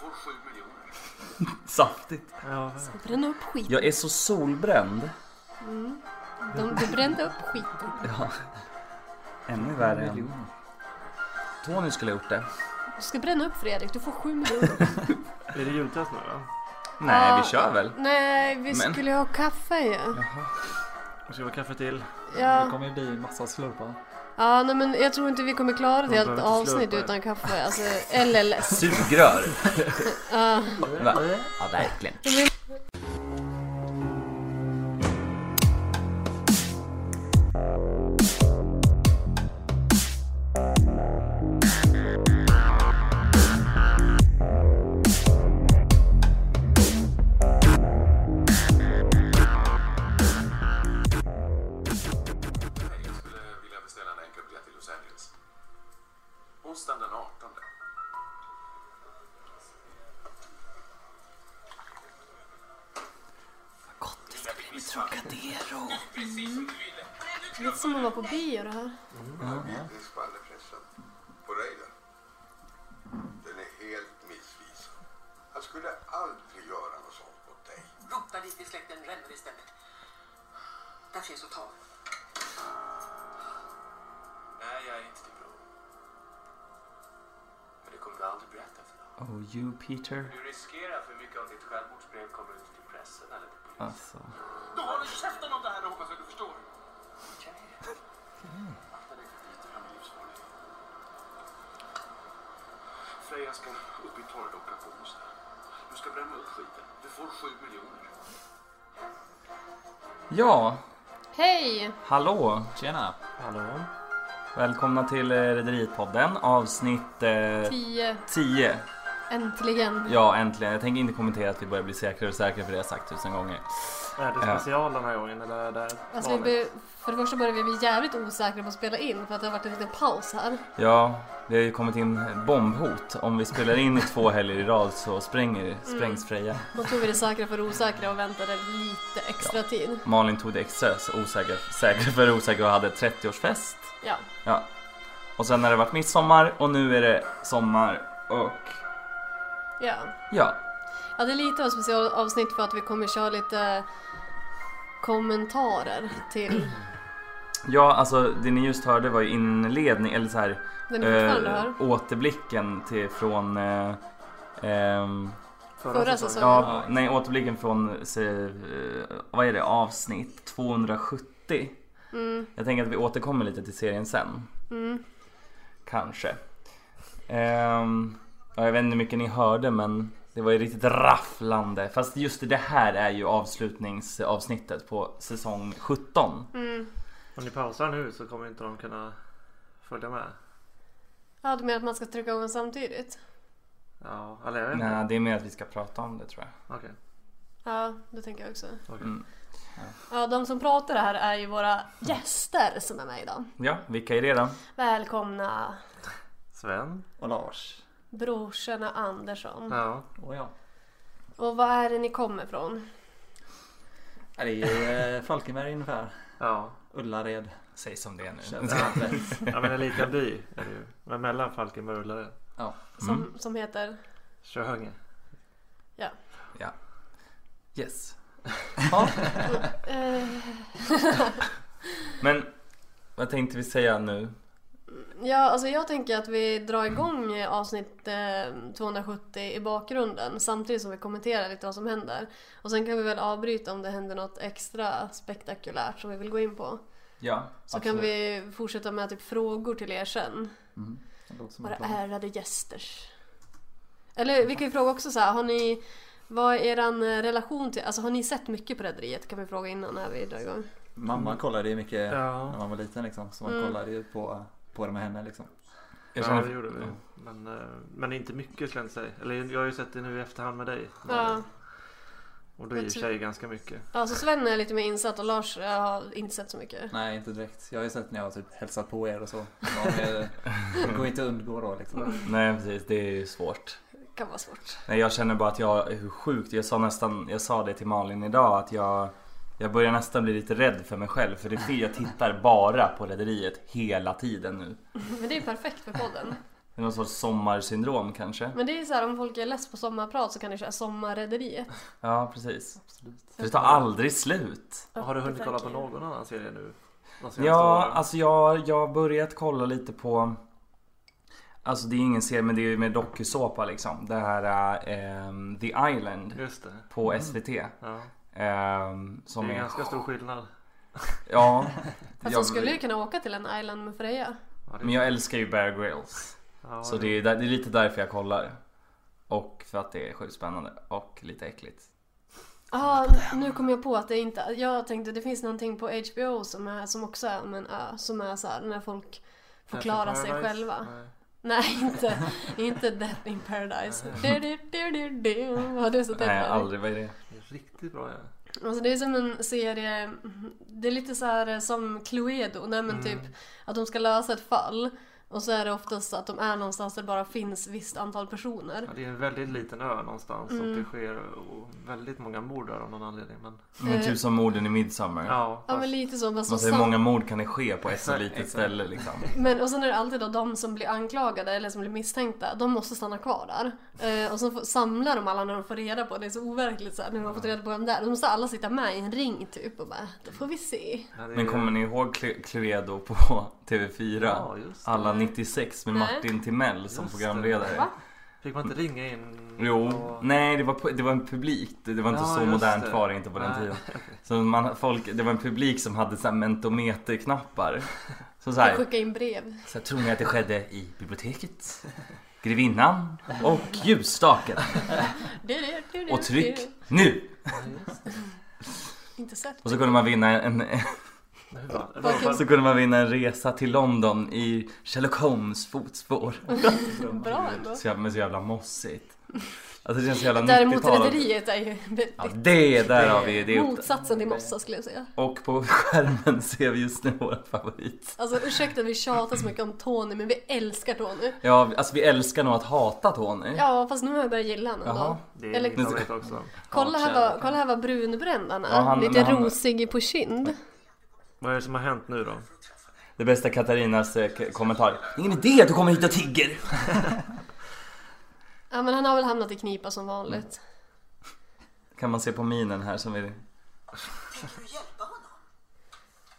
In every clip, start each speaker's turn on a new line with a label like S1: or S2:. S1: får 7 miljoner.
S2: Saftigt.
S3: Ja.
S4: Bränn upp skiten.
S2: Jag är så solbränd.
S4: De, de brände upp skiten.
S2: Ja. Ännu värre än... Tony skulle ha gjort det.
S4: Du ska bränna upp Fredrik, du får 7 miljoner.
S3: Är det jultest nu då?
S2: Nej,
S4: Ja.
S2: vi kör väl.
S4: Nej, vi
S2: Men-
S4: skulle ha kaffe ju.
S3: Vi ska ha kaffe till.
S5: Det
S4: Ja.
S5: kommer ju bli en massa slurpar.
S4: ja, nej men jag tror inte vi kommer klara ett
S3: De
S4: helt
S3: behöver inte slå
S4: avsnitt
S3: upp här.
S4: utan kaffe. Alltså LLS.
S2: Sugrör.
S4: Ja.
S2: Va? Ja, verkligen.
S1: Nej, jag skulle vilja beställa en enkel biljett till Los Angeles. Onsdagen den 18.
S4: Lite som att vara på bio det här.
S6: Bildens skvallerpressen på rejden. Den är helt missvisande. Han skulle aldrig göra något sånt mot dig.
S7: Rota dit i släkten Renner istället. Där finns att ta.
S1: Nej, jag är inte din bror. Men det kommer du aldrig berätta för någon.
S2: Oh, you Peter.
S1: Du riskerar för mycket om ditt självmordsbrev kommer ut till pressen eller till polisen.
S2: Alltså.
S1: Då håller käften om det här och hoppas att du förstår. Mm. Okej. Akta dig för Peter, han är livsfarlig. Freja ska upp i torrdockan på onsdag. Du ska bränna upp skiten. Du får sju miljoner.
S2: Ja,
S4: Hej!
S2: hallå.
S5: Tjena!
S3: Hallå?
S2: Välkomna till eh, Rederipodden avsnitt eh,
S4: 10.
S2: 10.
S4: Äntligen.
S2: Ja, äntligen. Jag tänker inte kommentera att vi börjar bli säkrare och säkrare för det har jag sagt tusen gånger.
S3: Är det
S2: Ja.
S3: special den här gången eller är det
S4: Alltså, vi
S3: vanligt?
S4: be, för det första började vi bli jävligt osäkra på att spela in för att det har varit en liten paus här.
S2: Ja, det har ju kommit in bombhot. Om vi spelar in i två helger i rad så spränger, sprängs Freja.
S4: Då tog vi det säkra för det osäkra och väntade lite extra tid.
S2: Malin tog det extra så osäker, säker för osäker och hade 30-årsfest.
S4: Ja.
S2: Ja. Och sen har det varit midsommar och nu är det sommar och
S4: ja.
S2: ja.
S4: Ja, det är lite av ett specialavsnitt för att vi kommer köra lite kommentarer till
S2: Ja, alltså det ni just hörde var ju inledning, eller så här
S4: den vi fortfarande
S2: eh,
S4: hör.
S2: återblicken till från eh, ehm,
S4: Förra säsongen.
S2: Ja, nej, återblicken från se, eh, vad är det, avsnitt 270. Jag tänker att vi återkommer lite till serien sen. Kanske. Ehm, ja, jag vet inte hur mycket ni hörde men det var ju riktigt rafflande. Fast just det här är ju avslutningsavsnittet på säsong 17.
S3: Om ni pausar nu så kommer inte de kunna följa med.
S4: Ja, du menar att man ska trycka igång samtidigt?
S3: Ja, eller jag vet inte.
S2: Nej, det är mer att vi ska prata om det tror jag.
S3: Okej.
S4: Ja, det tänker jag också.
S3: Okej.
S4: Ja, de som pratar här är ju våra gäster som är med idag.
S2: Ja, vilka är det då?
S4: Välkomna
S3: Sven?
S5: Och Lars.
S4: brorsorna Andersson.
S3: Ja.
S5: Och jag.
S4: Och vad är det ni kommer ifrån?
S5: Ja, Det är ju eh, Falkenberg ungefär.
S3: Ja.
S5: Ullared.
S2: Säg som det är nu.
S5: Känns det rätt?
S3: Ja men en liten by är det ju. Men mellan Falkenberg och Ullared.
S5: Ja.
S4: Som, som heter?
S3: Köinge.
S4: Ja.
S2: Yes.
S4: Eh,
S2: Men vad tänkte vi säga nu?
S4: ja, alltså jag tänker att vi drar igång avsnitt eh, 270 i bakgrunden samtidigt som vi kommenterar lite vad som händer. Och sen kan vi väl avbryta om det händer något extra spektakulärt som vi vill gå in på.
S2: Ja,
S4: Så
S2: absolut.
S4: kan vi fortsätta med typ frågor till er sen.
S5: Det låter som en
S4: Våra
S5: plan.
S4: ärade gästers. Eller vi kan ju fråga också så här, har ni vad är eran eh, relation till, alltså har ni sett mycket på Rederiet? Kan vi fråga innan när vi drar igång.
S2: Mm.
S5: Mamma kollade ju mycket
S3: Ja.
S5: när man var liten liksom. Så man
S4: Mm.
S5: kollade ju på, på det med henne liksom.
S2: Jag
S3: ja, det
S2: känner,
S3: gjorde vi. Men, eh, men inte mycket skulle jag inte säga. Eller jag har ju sett det nu i efterhand med dig.
S4: Ja,
S3: Och det är ju i och för sig ganska mycket.
S4: alltså Sven är lite mer insatt och Lars eh, har inte sett så mycket.
S5: Nej, inte direkt. Jag har ju sett när jag har typ hälsat på er och så. Ja, men, Det går inte att undgå då liksom.
S2: nej precis, det är ju svårt.
S4: Kan vara svårt.
S2: Nej, jag känner bara att jag, hur sjukt, jag sa nästan, jag sa det till Malin idag att jag jag börjar nästan bli lite rädd för mig själv för det är jag tittar bara på Rederiet hela tiden nu.
S4: Men det är ju perfekt för podden.
S2: Det är någon sorts sommarsyndrom kanske.
S4: Men det är så här, om folk är less på sommarprat så kan du köra Sommarrederiet.
S2: Ja, precis.
S5: Absolut.
S2: För det tar aldrig slut.
S3: Har du hunnit kolla på
S4: Frankrike.
S3: någon annan serie nu? De senaste
S2: Ja,
S3: åren?
S2: alltså jag, jag har börjat kolla lite på Alltså det är ingen serie men det är ju med dokusåpa liksom. Det här eh, The Island
S3: Just det.
S2: på SVT.
S3: Ja.
S2: ehm,
S3: Mm. Det
S2: som
S3: är
S2: är
S3: ganska stor skillnad.
S2: Ja.
S4: Fast de
S2: Jag-
S4: skulle ju kunna åka till en island med Freja.
S3: Ja, det-
S2: Men jag älskar ju Bear Grylls.
S3: ja,
S2: Så det är, där- det är lite därför jag kollar. Och för att det är sjukt spännande och lite äckligt.
S4: Ja, Ah, nu kom jag på att det inte... Jag tänkte det finns någonting på HBO som, är, som också är om en ö. Som är så här när folk förklarar sig
S3: Paradise?
S4: själva.
S3: Nej.
S4: Nej, inte, inte Death in Paradise. Du, du, du, du, du. Har du sett den?
S2: Nej,
S4: Harry?
S2: aldrig. Vad är det?
S3: Det är riktigt bra ja.
S4: Alltså det är som en serie, det är lite så här eh, som Cluedo, nej men typ
S2: Mm.
S4: att de ska lösa ett fall och så är det oftast att de är någonstans där det bara finns visst antal personer.
S3: ja. Det är en väldigt liten ö någonstans och det sker och väldigt många mord där av någon anledning. Men,
S2: Men
S4: Eh.
S2: typ som morden i Midsommar.
S3: ja,
S4: Ja
S3: fast-
S4: men lite så, fast
S2: Man
S4: så
S2: säger
S4: sam-
S2: hur många mord kan det ske på ett så
S3: Exakt,
S2: litet
S3: exakt.
S2: ställe liksom.
S4: men, och sen är det alltid då de som blir anklagade eller som blir misstänkta, de måste stanna kvar där. Eh, och så får, samlar de alla när de får reda på, det är så overkligt så här, när de har fått reda på vem det är. De måste alla sitta med i en ring typ och bara, då får vi se.
S3: Ja, det är-
S2: Men kommer ni ihåg Clu- Cluedo på TV4?
S3: Ja, just det.
S2: Alla 96 med
S4: Mm. Nej.
S2: Martin Timell som
S3: Just det.
S2: programledare.
S4: Va?
S3: Fick man inte ringa in?
S2: Jo,
S3: och-
S2: nej det var, pu- det var en publik. Det, det var inte
S3: Ja,
S2: så
S3: just
S2: modernt
S3: det.
S2: var det inte på den
S3: Nej.
S2: tiden. Så man, folk, det var en publik som hade så här mentometerknappar. Så så
S4: Jag
S2: här,
S4: skickar in brev.
S2: så här, tror ni att det skedde i biblioteket? Grevinnan och ljusstaken.
S4: Det, det, det, det,
S2: Och tryck
S4: det.
S2: nu!
S4: Inte sett.
S2: Och så kunde man vinna en,
S3: Nej, hur fan?
S4: Vad kul.
S2: så kunde man vinna en resa till London i Sherlock Holmes fotspår.
S4: Bra ändå.
S2: Så jävla, men så jävla mossigt. Alltså det känns så jävla
S4: Däremot
S2: 90-tal.
S4: rederiet är ju väldigt
S2: Ja, det där har vi det. är upp-
S4: motsatsen till mossa skulle jag säga.
S2: Och på skärmen ser vi just nu vår favorit.
S4: Alltså ursäkta att vi tjatar så mycket om Tony men vi älskar Tony.
S2: Ja, alltså vi älskar nog att hata Tony.
S4: Ja fast nu har jag börjat gilla honom
S2: Jaha.
S4: ändå.
S3: Det är
S4: Eller-
S3: mitt favorit också.
S4: Kolla här,
S5: Hatkärlek.
S4: vad, kolla här vad brunbränd han är.
S2: Ja, han-
S4: Lite
S2: men han-
S4: rosig på kind.
S3: Vad är det som har hänt nu då?
S2: Det bästa är Katarinas eh, k- kommentar. Det är ingen idé att du kommer hit och tigger.
S4: Ja men han har väl hamnat i knipa som vanligt.
S2: Kan man se på minen här som vi...
S7: Tänker du hjälpa honom?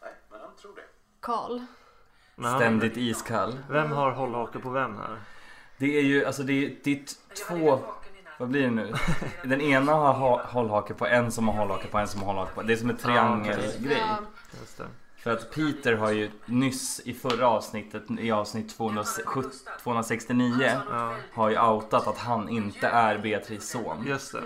S1: Nej, men han tror det.
S4: Karl.
S3: Men han-
S2: Ständigt iskall.
S3: Vem har hållhake på vem här?
S2: Det är ju, alltså det är, det är t- två... Vad blir det nu? Den ena har ha- hållhake på en som har hållhake på en som har hållhake på. Det är som en triangelgrej.
S4: Ja,
S3: Just det.
S2: För att Peter har ju nyss i förra avsnittet, i avsnitt 270, 269,
S3: Ja,
S2: har ju outat att han inte är Beatrices son.
S3: just det.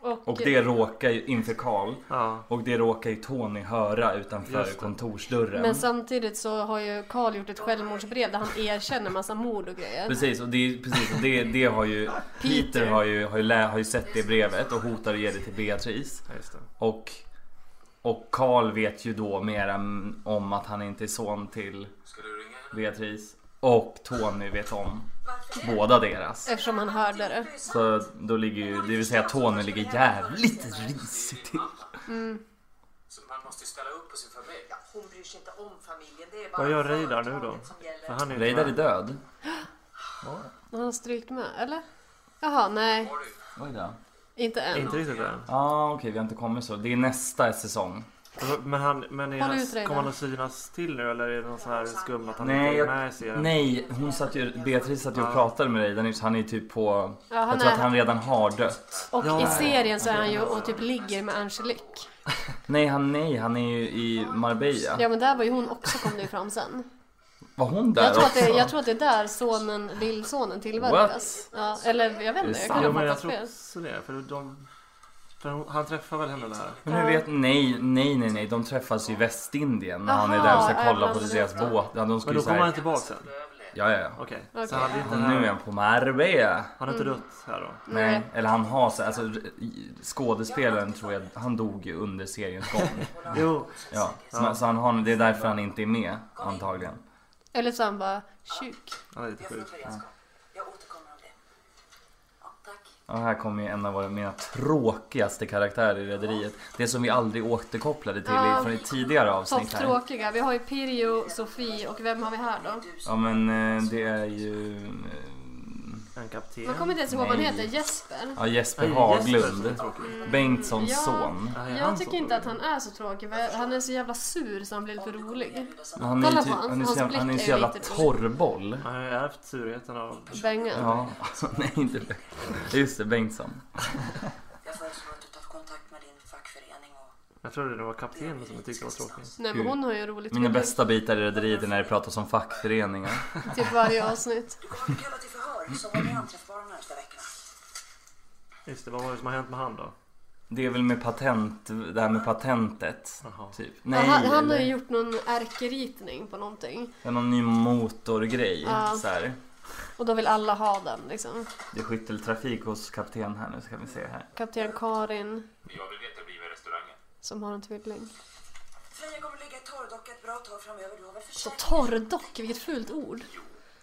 S4: och,
S2: Och det råkar ju inför Karl
S3: Ja,
S2: och det råkar ju Tony höra utanför
S3: Just det.
S2: kontorsdörren.
S4: Men samtidigt så har ju Karl gjort ett självmordsbrev där han erkänner massa mord och grejer.
S2: Precis, och det, är- precis, och det, det har ju Peter har ju, har, ju lä, har ju sett det brevet och hotar att ge det till Beatrice.
S3: ja, just det.
S2: Och, och Karl vet ju då mer än- om att han inte är son till
S1: Ska du ringa henne?
S2: Beatrice. Och Tony vet om båda deras.
S4: Eftersom han hörde det.
S2: Så då ligger ju, det vill säga Tony ligger jävligt risigt till.
S1: Så man måste ju ställa upp på sin familj.
S7: Ja, hon bryr sig inte om familjen. Det är bara
S3: Vad gör Reidar nu då?
S7: företaget som gäller.
S3: För han är ju
S2: Reidar är
S3: inte
S2: död.
S4: Han har strykt med, eller? Jaha, nej.
S2: Oj då.
S4: Inte
S3: med.
S4: än.
S3: Inte riktigt än.
S2: Ja, okej, vi har inte kommit så. Det är nästa säsong.
S3: Men, han, men är
S4: Håll
S3: han,
S4: ut, Reidar.
S3: kommer han att synas till nu eller är det någon sån här skum att han
S2: Nej,
S3: inte är
S2: jag-
S3: med i serien?
S2: Nej, hon satt ju, Beatrice satt ju och pratade med dig där nyss. Han är ju typ på...
S4: Ja, han
S2: jag tror
S4: är-
S2: att han redan har dött.
S4: Och
S3: Ja.
S4: i serien så är han ju och typ ligger med Angelique.
S2: Nej, han, nej, han är ju i Marbella.
S4: Ja men där var ju hon också kom det ju fram sen.
S2: Var hon där
S4: Jag tror, att
S2: också?
S4: det, jag tror att det är där sonen, lillsonen tillverkas. Ja, eller jag vet inte, jag
S2: sant?
S4: kan
S3: Jo
S4: ha
S3: men jag
S4: fattat
S3: tror
S4: fel.
S3: också det. För, de, för hon- han träffar väl henne där?
S2: Men hur vet... Nej, nej, nej, nej. De träffas ju i Västindien när han är
S4: Aha,
S2: där och ska
S4: jag
S2: kolla på
S4: blandade
S2: deras
S4: ihop dem.
S2: båt. Ja, de
S3: Men
S2: skulle ju
S3: då
S2: så
S3: kommer han
S2: här...
S3: tillbaka sen?
S2: Ja, ja, ja.
S3: Okej. Så
S4: Okej. Mm.
S3: han är inte
S2: Och nu är
S3: här.
S2: han på Marbella.
S3: Han har inte dött här då?
S2: Nej, eller han har så alltså skådespelaren tror jag, han dog ju under seriens gång.
S3: Jo.
S2: Ja, så, så han har, det är därför han inte är med antagligen.
S4: Eller så är han bara tjuk.
S3: Han är lite
S7: Jag får
S3: sjuk.
S7: ta redskap. Jag återkommer om det. Ja, tack.
S2: Och här kommer ju en av våra- mina tråkigaste karaktärer i Rederiet. Det som vi aldrig återkopplade till
S4: Ja.
S2: i från ett tidigare avsnitt
S4: Topp
S2: här.
S4: tråkiga. Vi har ju Pirjo, Sofie och vem har vi här då?
S2: Ja men eh, det är ju... eh,
S3: En kapten.
S4: Man kommer inte ens ihåg vad han
S2: Nej.
S4: heter. Jesper.
S2: Ja, Jesper
S3: Nej,
S2: Haglund.
S3: Jesper som är tråkig.
S2: Bengtssons
S4: Ja.
S2: son.
S3: Ja, är han
S4: Mm. Jag
S3: så
S4: tycker inte
S3: dålig?
S4: att han är så tråkig. för Han är så jävla sur så han blir lite för rolig.
S2: Han är, ju
S4: Kolla
S2: typ,
S4: på hans-
S2: han är så
S4: hans
S2: jävla, han är
S4: blick
S2: så
S4: är
S2: jävla
S4: riktigt-
S2: torrboll.
S3: Han har ju ärvt surheten av...
S4: Bengan.
S2: Ja, alltså, nej inte det. Just det, Bengtsson.
S7: Jag föreslår att du tar kontakt med din fackförening och...
S3: Jag trodde det var kaptenen som jag tyckte var tråkig.
S4: Nej men hon har ju roligt
S2: Mina
S4: med
S2: bästa bitar i Rederiet är när det pratas om fackföreningar.
S4: det, Typ varje avsnitt.
S7: Du kommer bli kallad till förhör, så var ni anträffbara de närmsta veckorna.
S3: Just det, vad var det som har hänt med han då?
S2: Det är väl med patent, det här med patentet.
S3: Jaha.
S2: Typ.
S4: Ja, han, han har
S2: eller-
S4: ju gjort någon ärkeritning på någonting.
S2: Det är någon ny motorgrej.
S4: Ja.
S2: Så här.
S4: Och då vill alla ha den liksom.
S2: Det är skytteltrafik hos kapten här nu så kan vi se här.
S4: Kapten Karin
S8: Jag vill veta bredvid restaurangen.
S4: som har en tvilling.
S7: Freja kommer ligga i torrdocka ett bra tag framöver. Du har väl
S4: Så
S7: försäkrat...
S4: torrdock, vilket fult ord.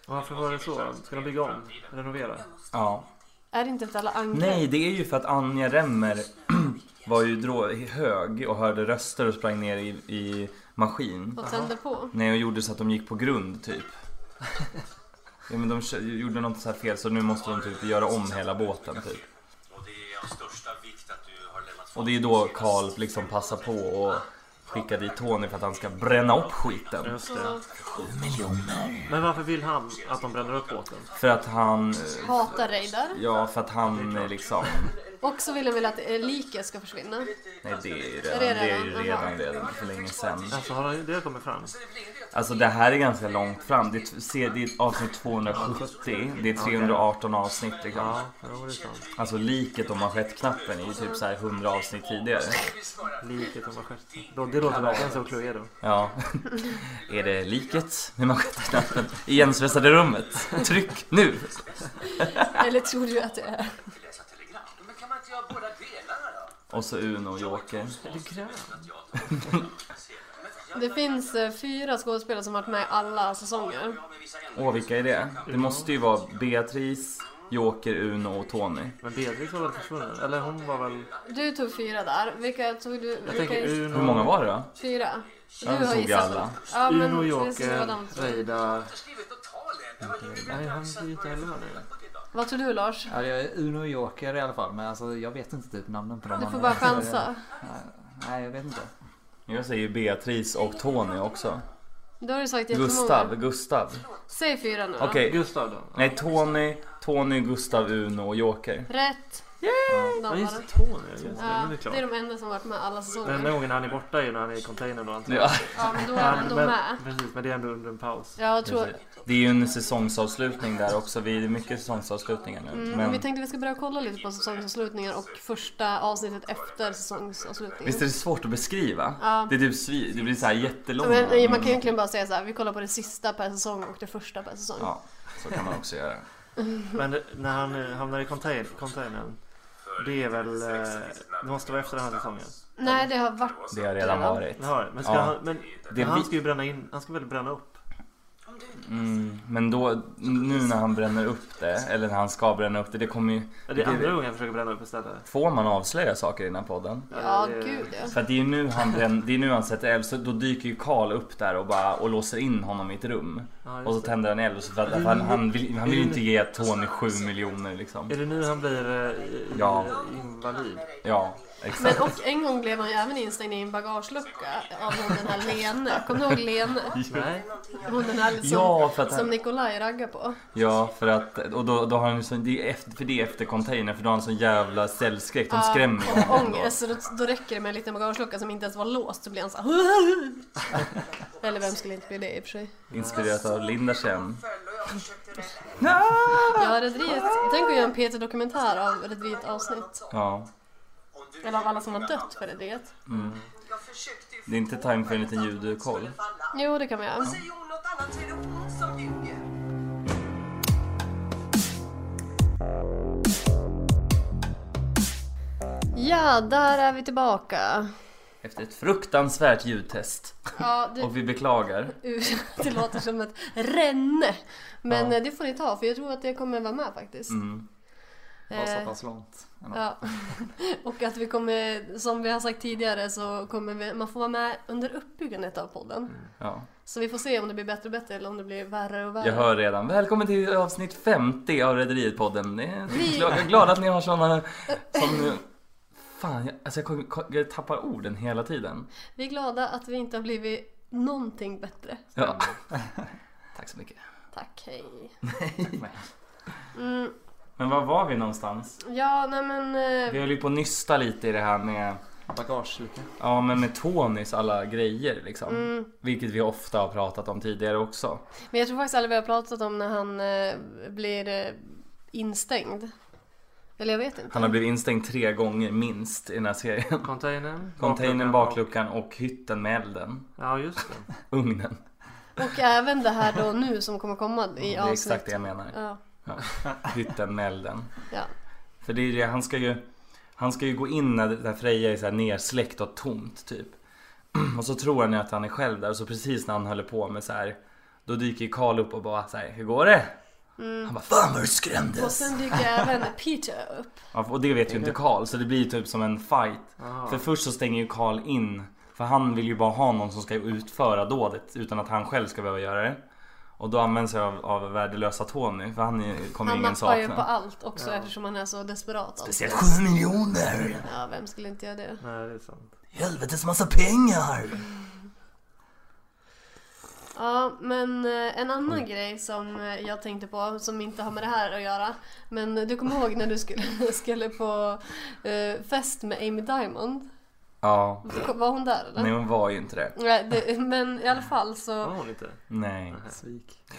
S3: Varför var det så? Ska de bygga om? Renovera?
S7: Jag måste...
S2: Ja.
S4: Är det inte efter alla angrepp?
S2: Nej, det är ju för att Anja Remmer var ju drå- hög och hörde röster och sprang ner i, i maskin.
S4: Och tände på.
S2: Nej, och gjorde så att de gick på grund typ. Ja, men de kö- gjorde något så här fel så nu måste de typ göra om hela båten typ.
S8: Och det är av största vikt att du har lämnat
S2: Och det är då Karl liksom passar på och skickar dit Tony för att han ska bränna upp skiten.
S3: Just det. Men varför vill han att de bränner upp båten?
S2: För att han... eh,
S4: Hatar Reidar.
S2: Ja, för att han eh, liksom...
S4: Och så vill han väl att eh, liket ska försvinna.
S2: Nej, det är ju
S4: Är
S2: redan,
S4: det
S2: det är ju
S4: redan?
S2: redan,
S4: Aha.
S2: redan för länge sedan.
S3: Alltså har det- det kommit fram?
S2: Alltså det här är ganska långt fram. Det är, se, det är avsnitt 270. Det är 318 avsnitt liksom.
S3: Ja, jo, det är sant.
S2: Alltså liket och manschettknappen är ju typ så här 100 avsnitt tidigare.
S3: Liket om manschetten. Då- Det låter verkligen som Cluedo.
S2: Ja. Är det liket med manschettknappen i igensvetsade rummet? Tryck nu!
S4: Eller tror du att det är?
S8: Läsa telegram. Men kan man inte göra båda delarna då?
S2: Och så Uno och Joker.
S4: Det finns eh, fyra skådespelare som varit med i alla säsonger.
S2: Åh, vilka är det? Det måste ju vara Beatrice, Joker, Uno och Tony.
S3: Men Beatrice var väl försvunnen? Eller hon var väl...
S4: Du tog fyra där. Vilka tog du?
S3: Jag
S4: vilka
S3: tänker Uno...
S2: Hur många var det då?
S4: Fyra. Du
S2: Ja,
S4: har
S2: jag tog
S4: gissat
S2: alla.
S4: på- Ja, men
S3: Uno,
S4: det ska vara
S3: Joker,
S4: de två.
S3: Reidar...
S8: Skrivit och talen.
S2: Mm.
S3: Nej, han är ju inte heller med nu.
S4: Vad tror du Lars?
S5: Ja, det är Uno och Joker i alla fall, men alltså, jag vet inte typ namnen på de
S4: Du får
S5: andra.
S4: bara chansa.
S5: Nej, jag vet inte.
S2: Jag säger Beatrice och Tony också.
S4: Då har du sagt jättemånga.
S2: Gustav, Gustav.
S4: Säg fyra nu då.
S2: Okej,
S3: Gustav då?
S2: Nej, Tony, Tony, Gustav, Uno och Joker.
S4: Rätt. De var
S3: Ja, just det.
S4: det.
S3: Tony. Just det. Men
S4: Ja,
S3: det är
S4: det är
S3: klart.
S4: de enda som varit med alla
S3: Den enda
S4: säsonger.
S3: gången han är borta är ju när han är i containern då antar
S2: Ja,
S4: Ja, men då är
S3: Ja,
S4: han ändå
S3: men-
S4: med.
S3: Precis, men det är ändå under en paus.
S4: Ja, jag tror...
S2: det är ju en säsongsavslutning där också. Vi är mycket säsongsavslutningar nu.
S4: Mm,
S2: men
S4: vi tänkte vi ska börja kolla lite på säsongsavslutningar och första avsnittet efter
S2: visst är
S4: säsongsavslutningen.
S2: det svårt att beskriva?
S4: Ja.
S2: Det, är typ svi- det blir så här jättelångt. Mm.
S4: Men, eh, man kan egentligen bara säga så här, vi kollar på det sista per säsong och det första per säsong.
S2: Ja, så kan man också göra.
S3: Men det- när han eh, hamnar i contain- containern, det är väl... eh, Det måste vara efter den här säsongen.
S4: Nej, det har varit...
S2: Det har redan varit.
S3: Jaha, men ska
S2: Ja.
S3: han... Men
S2: Det
S3: han
S2: vi-
S3: ska ju bränna in... Han ska väl bränna upp?
S2: Mm, men då, nu när han bränner upp det, eller när han ska bränna upp det, det kommer ju...
S3: Ja, Det är andra
S2: det,
S3: gången han försöker bränna upp istället. Alltså,
S2: får man avslöja saker i den här podden?
S4: Ja,
S3: det-
S4: gud ja.
S2: För att det är ju nu han, brän, det är nu han sätter eld, så då dyker ju Karl upp där och, bara, och låser in honom i ett rum.
S3: Ja, just
S2: Och så
S3: det.
S2: tänder han eld, och så för att han, han, vill, han vill inte ge Tony 7 miljoner liksom.
S3: Är det nu han blir eh, i-
S2: Ja.
S3: invalid?
S2: Ja, exakt.
S4: Men och en gång blev han ju även instängd i en bagagelucka av hon den här Lene. Kommer du ihåg Lene?
S3: Nej.
S4: Hon den här som,
S2: Ja, för att
S4: som
S2: han,
S4: Nikolaj raggar på.
S2: ja, för att, och då, då har han ju sån, det är efter, för det är efter container för då har han sån jävla cellskräck, de skrämmer ju
S4: Och
S2: honom då.
S4: ångest, så då, då räcker det med en liten bagagelucka som inte ens var låst så blir han såhär Eller vem skulle inte bli det i och för sig?
S2: Inspirerat av Linda Chen.
S7: Föll och jag försökte rädda
S4: Ja, Rederiet. Tänk att göra en Peter-dokumentär av Rederiet avsnitt.
S2: Ja,
S4: Eller av alla som har dött för Rederiet.
S7: Jag försökte ju...
S2: det är inte time för en liten ljudkoll.
S4: Jo, det kan vi göra.
S7: Säger hon något annat så är det hon som ljuger.
S4: Ja, där är vi tillbaka.
S2: Efter ett fruktansvärt ljudtest.
S4: Ja, det,
S2: Och vi beklagar.
S4: det låter som ett ränne. Men
S2: Ja.
S4: eh, det får ni ta, för jag tror att det kommer vara med faktiskt.
S2: Mm.
S5: Bara så
S4: Eh,
S5: att han slant. ändå.
S4: Ja. Och att vi kommer, som vi har sagt tidigare, så kommer vi, man får vara med under uppbyggandet av podden.
S2: Ja.
S4: Så vi får se om det blir bättre och bättre eller om det blir värre och värre.
S2: Jag hör redan. Välkommen till avsnitt 50 av Rederiet-podden. Det är-
S4: Vi-
S2: Jag är glad att ni har sådana som... Fan, jag, alltså jag, kommer- jag tappar orden hela tiden.
S4: Vi är glada att vi inte har blivit någonting bättre.
S2: Ja. Tack så mycket.
S4: Tack, hej.
S2: Men var var vi någonstans?
S4: Ja, nej men...
S2: Vi
S4: eh,
S2: höll ju på att nysta lite i det här med,
S5: Bagagelucka.
S2: ja, men med Tonys alla grejer liksom.
S4: Mm.
S2: Vilket vi ofta har pratat om tidigare också.
S4: Men jag tror faktiskt aldrig vi har pratat om när han eh, blir eh, instängd. Eller jag vet inte.
S2: Han har blivit instängd tre gånger minst i den här serien.
S3: Containern.
S2: Containern,
S3: bakluckan
S2: bakluckan och hytten med elden.
S3: och- Ja, just det.
S2: Ugnen.
S4: Och även det här då nu som kommer komma i
S2: Det är
S4: avsnitt.
S2: exakt det jag menar.
S4: Ja,
S2: Hytten med elden.
S4: ja.
S2: För det är ju det, han ska ju Han ska ju gå in när där Freja är så här nersläckt och tomt typ Och så tror han ju att han är själv där och så precis när han håller på med så här Då dyker ju Karl upp och bara så här, hur går det? Han bara, fan vad du
S4: Mm. Och
S2: skrämdes!
S4: sen dyker även Peter upp.
S2: Ja, och det vet ju inte Karl så det blir ju typ som en fight
S3: Aha.
S2: För först så stänger ju Karl in För han vill ju bara ha någon som ska utföra dådet utan att han själv ska behöva göra det Och då används jag av, av värdelösa Tony för han är- kommer
S4: Han
S2: ingen
S4: nappar ju på
S2: sakna
S4: allt också eftersom han är så desperat. av
S2: Speciellt
S4: sig.
S2: 7 miljoner!
S4: Ja, vem skulle inte göra det?
S3: Nej, det är sant.
S2: Helvetes massa pengar!
S4: Ja, men eh, en annan
S2: Mm.
S4: grej som eh, jag tänkte på som inte har med det här att göra. Men du kommer ihåg när du skulle, skulle på eh, fest med Amy Diamond?
S2: Ja,
S4: Var hon där eller?
S2: Mm. nej hon var ju inte det.
S4: Nej, det, men i alla fall så...
S3: Var hon inte?
S2: Nej.
S5: Svik.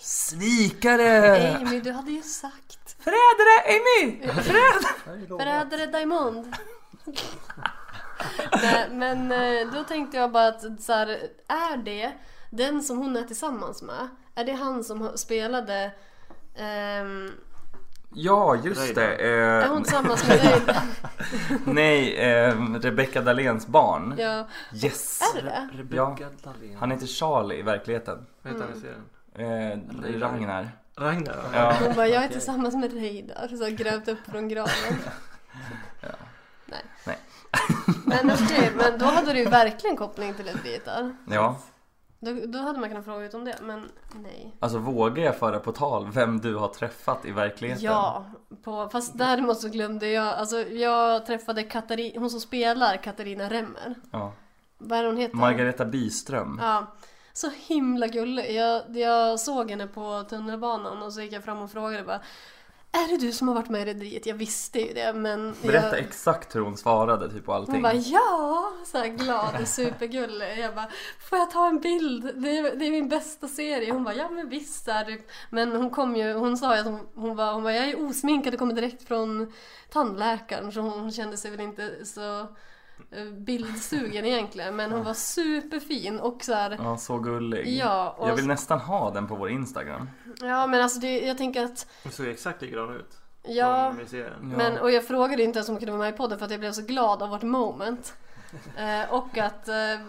S2: Svikare!
S4: Amy, du hade ju sagt.
S2: Förrädare Amy!
S4: Förrädare Diamond. Nej, men eh, då tänkte jag bara att så här, är det den som hon är tillsammans med? Är det han som har- spelade ehm,
S2: Ja, just det.
S4: Är
S2: Eh,
S4: hon tillsammans med dig?
S2: nej, eh, Rebecca Dahléns barn.
S4: Ja.
S2: Yes!
S4: Är det det?
S3: Rebecca
S2: Ja.
S3: Dahlén.
S2: Han heter Charlie i verkligheten.
S3: Vad heter han i
S4: Mm.
S3: serien?
S2: Eh, Ragnar.
S3: Ragnar? va?
S2: Ja.
S4: Hon bara, jag är tillsammans med Reidar. Så har grävt upp från graven. Nej.
S2: Nej.
S4: Men okej, men då hade du ju verkligen koppling till ett där.
S2: ja.
S4: Då, då hade man kunnat fråga ut om det, men nej.
S2: Alltså vågar jag föra på tal vem du har träffat i verkligheten?
S4: Ja, på, fast däremot så glömde jag, alltså jag träffade Katarina, hon som spelar Katarina Remmer.
S2: ja.
S4: Vad är hon heter?
S2: Margareta Biström.
S4: Ja. Så himla gullig. Jag, jag såg henne på tunnelbanan och så gick jag fram och frågade bara Är det du som har varit med i Rederiet? Jag visste ju det men
S2: Berätta
S4: jag...
S2: exakt hur hon svarade typ och
S4: Hon
S2: allting.
S4: bara ja, så här glad och supergullig. Jag bara, får jag ta en bild? Det är, det är min bästa serie. Hon bara, ja men visst. Så här, typ. Men hon kom ju, hon sa ju att hon, hon, var, hon bara, jag är osminkad och kommer direkt från tandläkaren. Så hon kände sig väl inte så eh, bildsugen egentligen. Men hon var superfin och så här,
S2: Ja, så gullig.
S4: Ja, och-
S2: Jag vill nästan ha den på vår Instagram.
S4: ja men alltså det, jag tänker att
S3: Hon såg exakt likadan ut.
S4: Ja,
S3: Som i serien.
S4: men, och jag frågade inte ens om hon kunde vara med i podden för att jag blev så glad av vårt moment. Eh, och att eh, eh,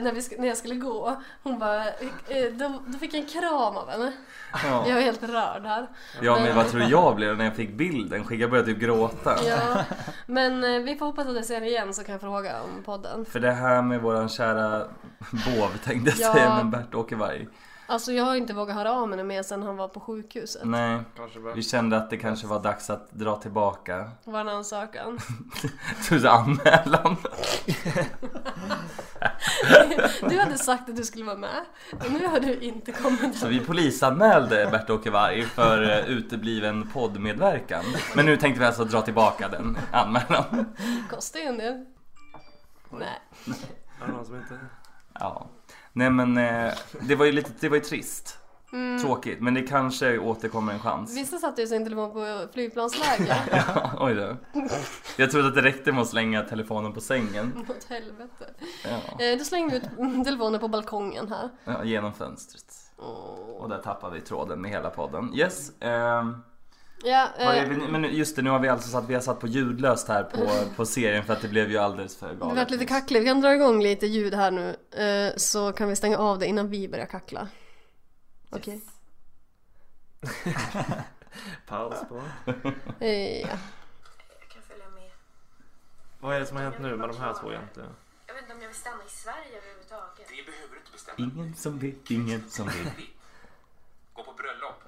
S4: när, vi, sk- när jag skulle gå, hon bara, eh, då, då fick jag en kram av henne.
S2: Ja.
S4: Jag är helt rörd här.
S2: Ja men vad tror jag blev när jag fick bilden? Skicka började typ gråta.
S4: Ja. Men eh, vi får hoppas att jag ser henne igen så kan jag fråga om podden.
S2: För det här med våran kära Bov tänkte jag
S4: Ja.
S2: säga, men Bert-Åke Varg.
S4: Alltså jag har inte vågat höra av henne mer sedan han var på sjukhuset.
S2: Nej,
S3: Kanske bara...
S2: vi kände att det kanske var dags att dra tillbaka
S4: Var en ansökan.
S2: Tusen anmälan.
S4: Du hade sagt att du skulle vara med och nu har du inte kommit.
S2: Så vi polisanmälde Bert-Åke Varg för eh, utebliven poddmedverkan. Men nu tänkte vi alltså dra tillbaka den anmälan.
S4: Kostar ju en del. Nej.
S3: Är det någon som inte...
S2: Ja. Nej men eh, det var ju lite, det var ju trist.
S4: Mm.
S2: Tråkigt, men det kanske återkommer en chans.
S4: Vissa satte ju sin telefon på flygplansläge.
S2: Oj då. Jag trodde att det räckte med att slänga telefonen på sängen.
S4: Åt helvete.
S2: Ja,
S4: Eh, då slängde vi ut telefonen på balkongen här.
S2: ja, genom fönstret.
S4: Åh.
S2: Och där tappade vi tråden med hela podden. Yes. ehm,
S4: Ja,
S2: vad
S4: eh,
S2: är vi, men just det, nu har vi alltså satt, vi har satt på ljudlöst här på, på serien för att det blev ju alldeles för galet.
S4: Mm. det vart lite kackligt. Vi kan dra igång lite ljud här nu. Eh, så kan vi stänga av det innan vi börjar kackla. Okej.
S3: Paus på.
S4: Eh, Ja.
S9: Jag kan följa med.
S3: Vad är det som har hänt nu med de här två egentligen?
S9: Jag vet inte om jag vill stanna i Sverige överhuvudtaget.
S8: Det behöver du inte bestämma.
S2: Ingen som vet, ingen som vet.
S8: Gå på bröllop.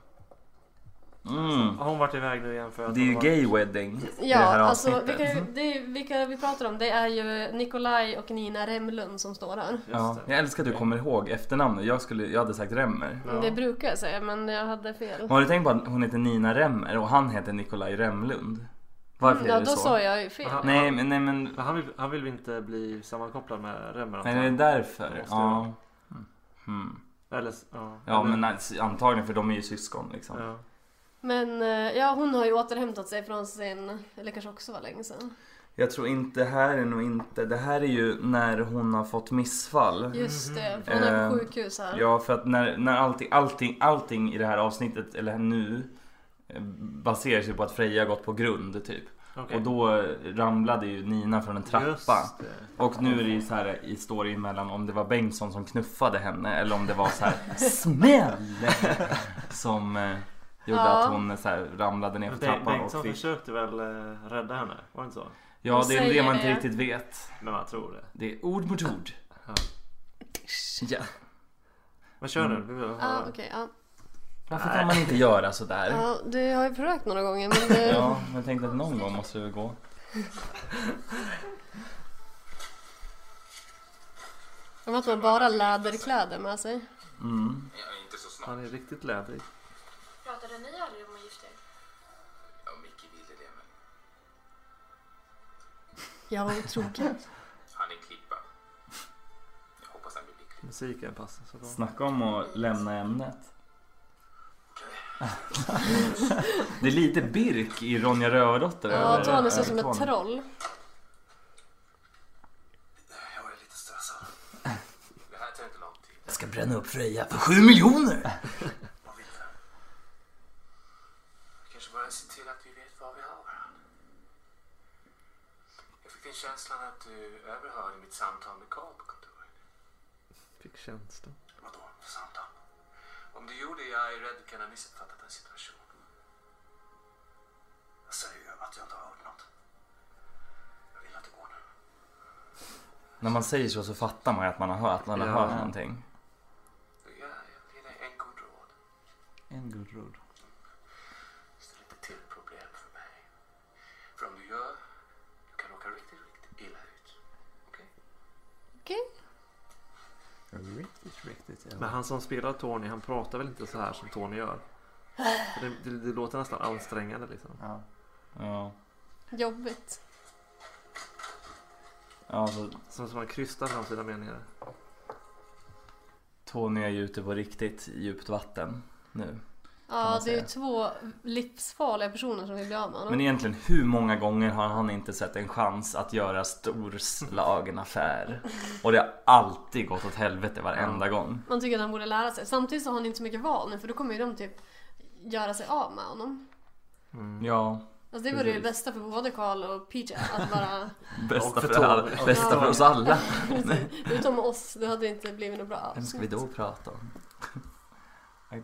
S2: Mm.
S3: Har hon varit iväg nu igen för att
S2: Det är
S3: hon
S2: ju
S3: har
S2: gay wedding i det
S4: Ja,
S2: här
S4: alltså
S2: avsnittet.
S4: vilka, det, är- vilka vi pratar om det är ju Nikolaj och Nina Remlund som står här.
S2: Ja,
S3: Just det.
S2: jag älskar att du kommer ihåg efternamnet. Jag, skulle, jag hade sagt Remmer.
S3: Ja.
S4: Det brukar jag säga men jag hade fel.
S2: Har du tänkt på att hon heter Nina Remmer och han heter Nikolaj Remlund? Varför
S4: Mm, Ja,
S2: är det
S4: då
S2: så?
S4: sa jag ju fel.
S3: Aha.
S2: Nej, men, nej, men,
S3: Men han vill, han vill inte bli sammankopplad med Remmer
S2: nej, det är
S3: antagligen.
S2: därför.
S3: Måste jag.
S2: Ja. Mm.
S3: Eller, s- ja.
S2: ja,
S3: eller,
S2: men alltså, antagligen för de är ju syskon liksom.
S3: Ja.
S4: Men eh, ja, hon har ju återhämtat sig från sin, eller kanske också var länge sedan.
S2: Jag tror inte, det här är nog inte, det här är ju när hon har fått missfall.
S4: Just det, för hon är på
S2: Eh,
S4: sjukhus här.
S2: Ja, för att när, när allting, allting, allting i det här avsnittet, eller nu, eh, baserar sig på att Freja har gått på grund typ.
S3: Okej.
S2: Och då eh, ramlade ju Nina från en trappa.
S3: Just det.
S2: Och nu är det ju så här i story mellan om det var Bengtsson som knuffade henne eller om det var så här smäll som eh, gjorde
S4: Ja.
S2: att hon eh, så här ramlade ner
S3: Men
S2: för
S3: Bengt-
S2: trappan. Och
S3: Bengtsson
S2: fick...
S3: försökte väl eh, rädda henne? Var det inte så?
S2: Ja, det är
S4: Säger
S2: det man inte
S4: det.
S2: riktigt vet.
S3: Men man tror det.
S2: Det är ord mot ord.
S3: Ja.
S2: Ja.
S3: Men kör
S2: Mm.
S3: nu. Vi vill höra.
S4: Ah, okej, ja.
S2: Varför kan man inte göra så där?
S4: ja, du har ju försökt några gånger men det...
S2: Ja, men jag tänkte att någon gång måste det gå.
S4: Om att man bara läderkläder med sig.
S2: Mm.
S8: Ja, inte så snabbt.
S3: Han är riktigt lädrig.
S9: Pratade ni aldrig om att gifta er?
S8: Ja, Micke ville det, men
S4: Jag var otrogen.
S8: han är en klippa. Jag hoppas han blir lycklig.
S3: Musiken passar så bra.
S2: Snacka om att lämna ämnet. Det är lite Birk i Ronja Rövardotter.
S4: Ja,
S2: över-
S4: Tony ser ut som
S2: över
S4: ett
S2: Tony.
S4: troll.
S8: Jag är lite stressad. Det här tar inte lång tid.
S2: Jag ska bränna upp Freja för sju miljoner!
S8: Vad vill han? Vi kanske bara se till att vi vet vad vi har varandra. Jag fick den känslan att du överhörde mitt samtal med Carl på kontoret.
S3: Fick känslan.
S8: Vadå för samtal? Om du gjorde jag är rädd kan ha missuppfattat en situation. Jag säger ju att jag inte har hört något. Jag vill att det går nu.
S2: När man säger så så fattar man ju att man har hört, att man har
S3: Ja.
S2: hört någonting.
S8: Jag, jag vill dig en god råd.
S5: En god råd.
S8: Ställ inte till problem för mig. För om du gör, du kan råka riktigt, riktigt illa ut. Okej?
S4: Okej.
S5: Riktigt, riktigt.
S3: Men han som spelar Tony, han pratar väl inte så här som Tony gör? Det, det, det låter nästan ansträngande liksom.
S5: Ja.
S2: Ja.
S4: Jobbigt.
S2: ja alltså, så
S3: Som som han krystar fram sina meningar.
S2: Tony är ju ute på riktigt djupt vatten nu. Kan
S4: Ja,
S2: man
S4: det är ju
S2: säga.
S4: två livsfarliga personer som vi blir av med.
S2: Men egentligen hur många gånger har han inte sett en chans att göra storslagen affär? Och det har alltid gått åt helvete varenda gång.
S4: Man tycker att han borde lära sig. Samtidigt så har han inte så mycket val nu för då kommer ju de typ göra sig av med honom.
S2: Ja,
S4: Alltså det vore ju det
S2: Precis.
S4: bästa för både Karl och Peter att bara...
S2: bästa
S3: Och för
S2: för, alla,
S3: Tony.
S2: bästa för oss alla.
S4: Utom oss, det hade inte blivit något bra
S2: Vem
S4: alls.
S2: ska vi då prata om? Ja.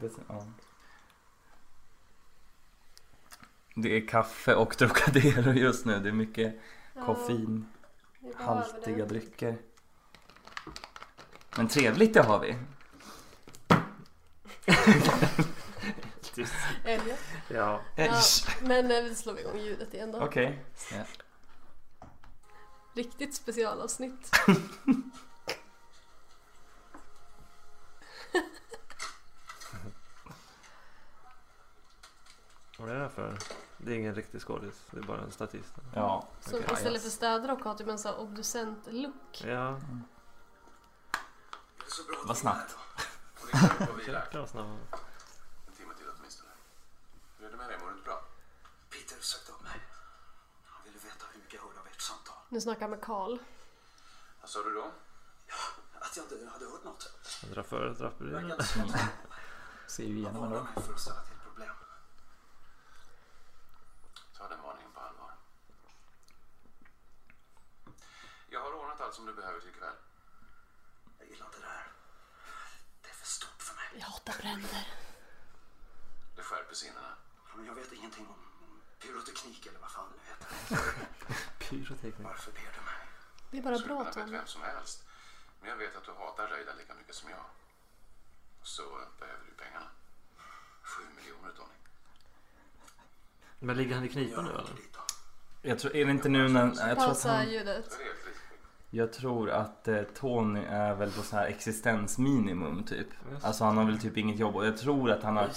S2: Det är kaffe och Trocadero just nu. Det är mycket koffeinhaltiga drycker. Men trevligt det har vi.
S4: Eller?
S3: Ja.
S4: Ja, Eh, men eh, vi slår igång ljudet igen då.
S2: Okej.
S4: Riktigt specialavsnitt.
S3: Vad är det här för? Det är ingen riktig skådis. Det är bara en statist.
S2: Ja.
S4: Som
S2: okej,
S4: istället
S2: yes.
S4: för städrock har typ en sån här obducent-look.
S3: Ja.
S2: Mm.
S8: Det är så bra.
S2: Vad snabbt.
S8: Och det kan gå vidare.
S3: Jäklar vad snabb han var.
S8: En timme till åtminstone. Hur är det med dig? Mår du inte bra? Peter sökte upp mig. Han ville veta hur mycket jag hörde av ert samtal.
S4: Nu snackar jag med Karl.
S8: Vad sa du då? Att jag inte hade hört något.
S3: Han drar för draperierna.
S2: Mm.
S5: Ser ju igenom ändå.
S8: mig för att ställa till problem. Ta den varningen på allvar. Jag har ordnat allt som du behöver till ikväll. Jag gillar inte det här. Det är för stort för mig.
S4: Jag hatar bränder.
S8: Det skärper sinnena.
S1: men jag vet ingenting om pyroteknik eller vad fan det heter.
S5: Pyroteknik.
S1: Varför ber du mig?
S4: Det är bara
S8: Skulle kunna
S4: bra
S8: ha bett
S4: Tom.
S8: vem som helst. Men jag vet att du hatar Reidar lika mycket som jag. Så behöver du pengarna. Sju miljoner, Tony.
S3: Men ligger han i knipa
S1: Gör
S3: nu
S1: något
S3: eller?
S1: lite.
S2: Jag tror, är det inte nu när... Jag tror att,
S4: Pausa
S2: han,
S4: ljudet.
S8: Det är helt riktigt.
S2: jag tror att eh, Tony är väl på så här existensminimum typ. Alltså han har väl typ inget jobb och jag tror att han har...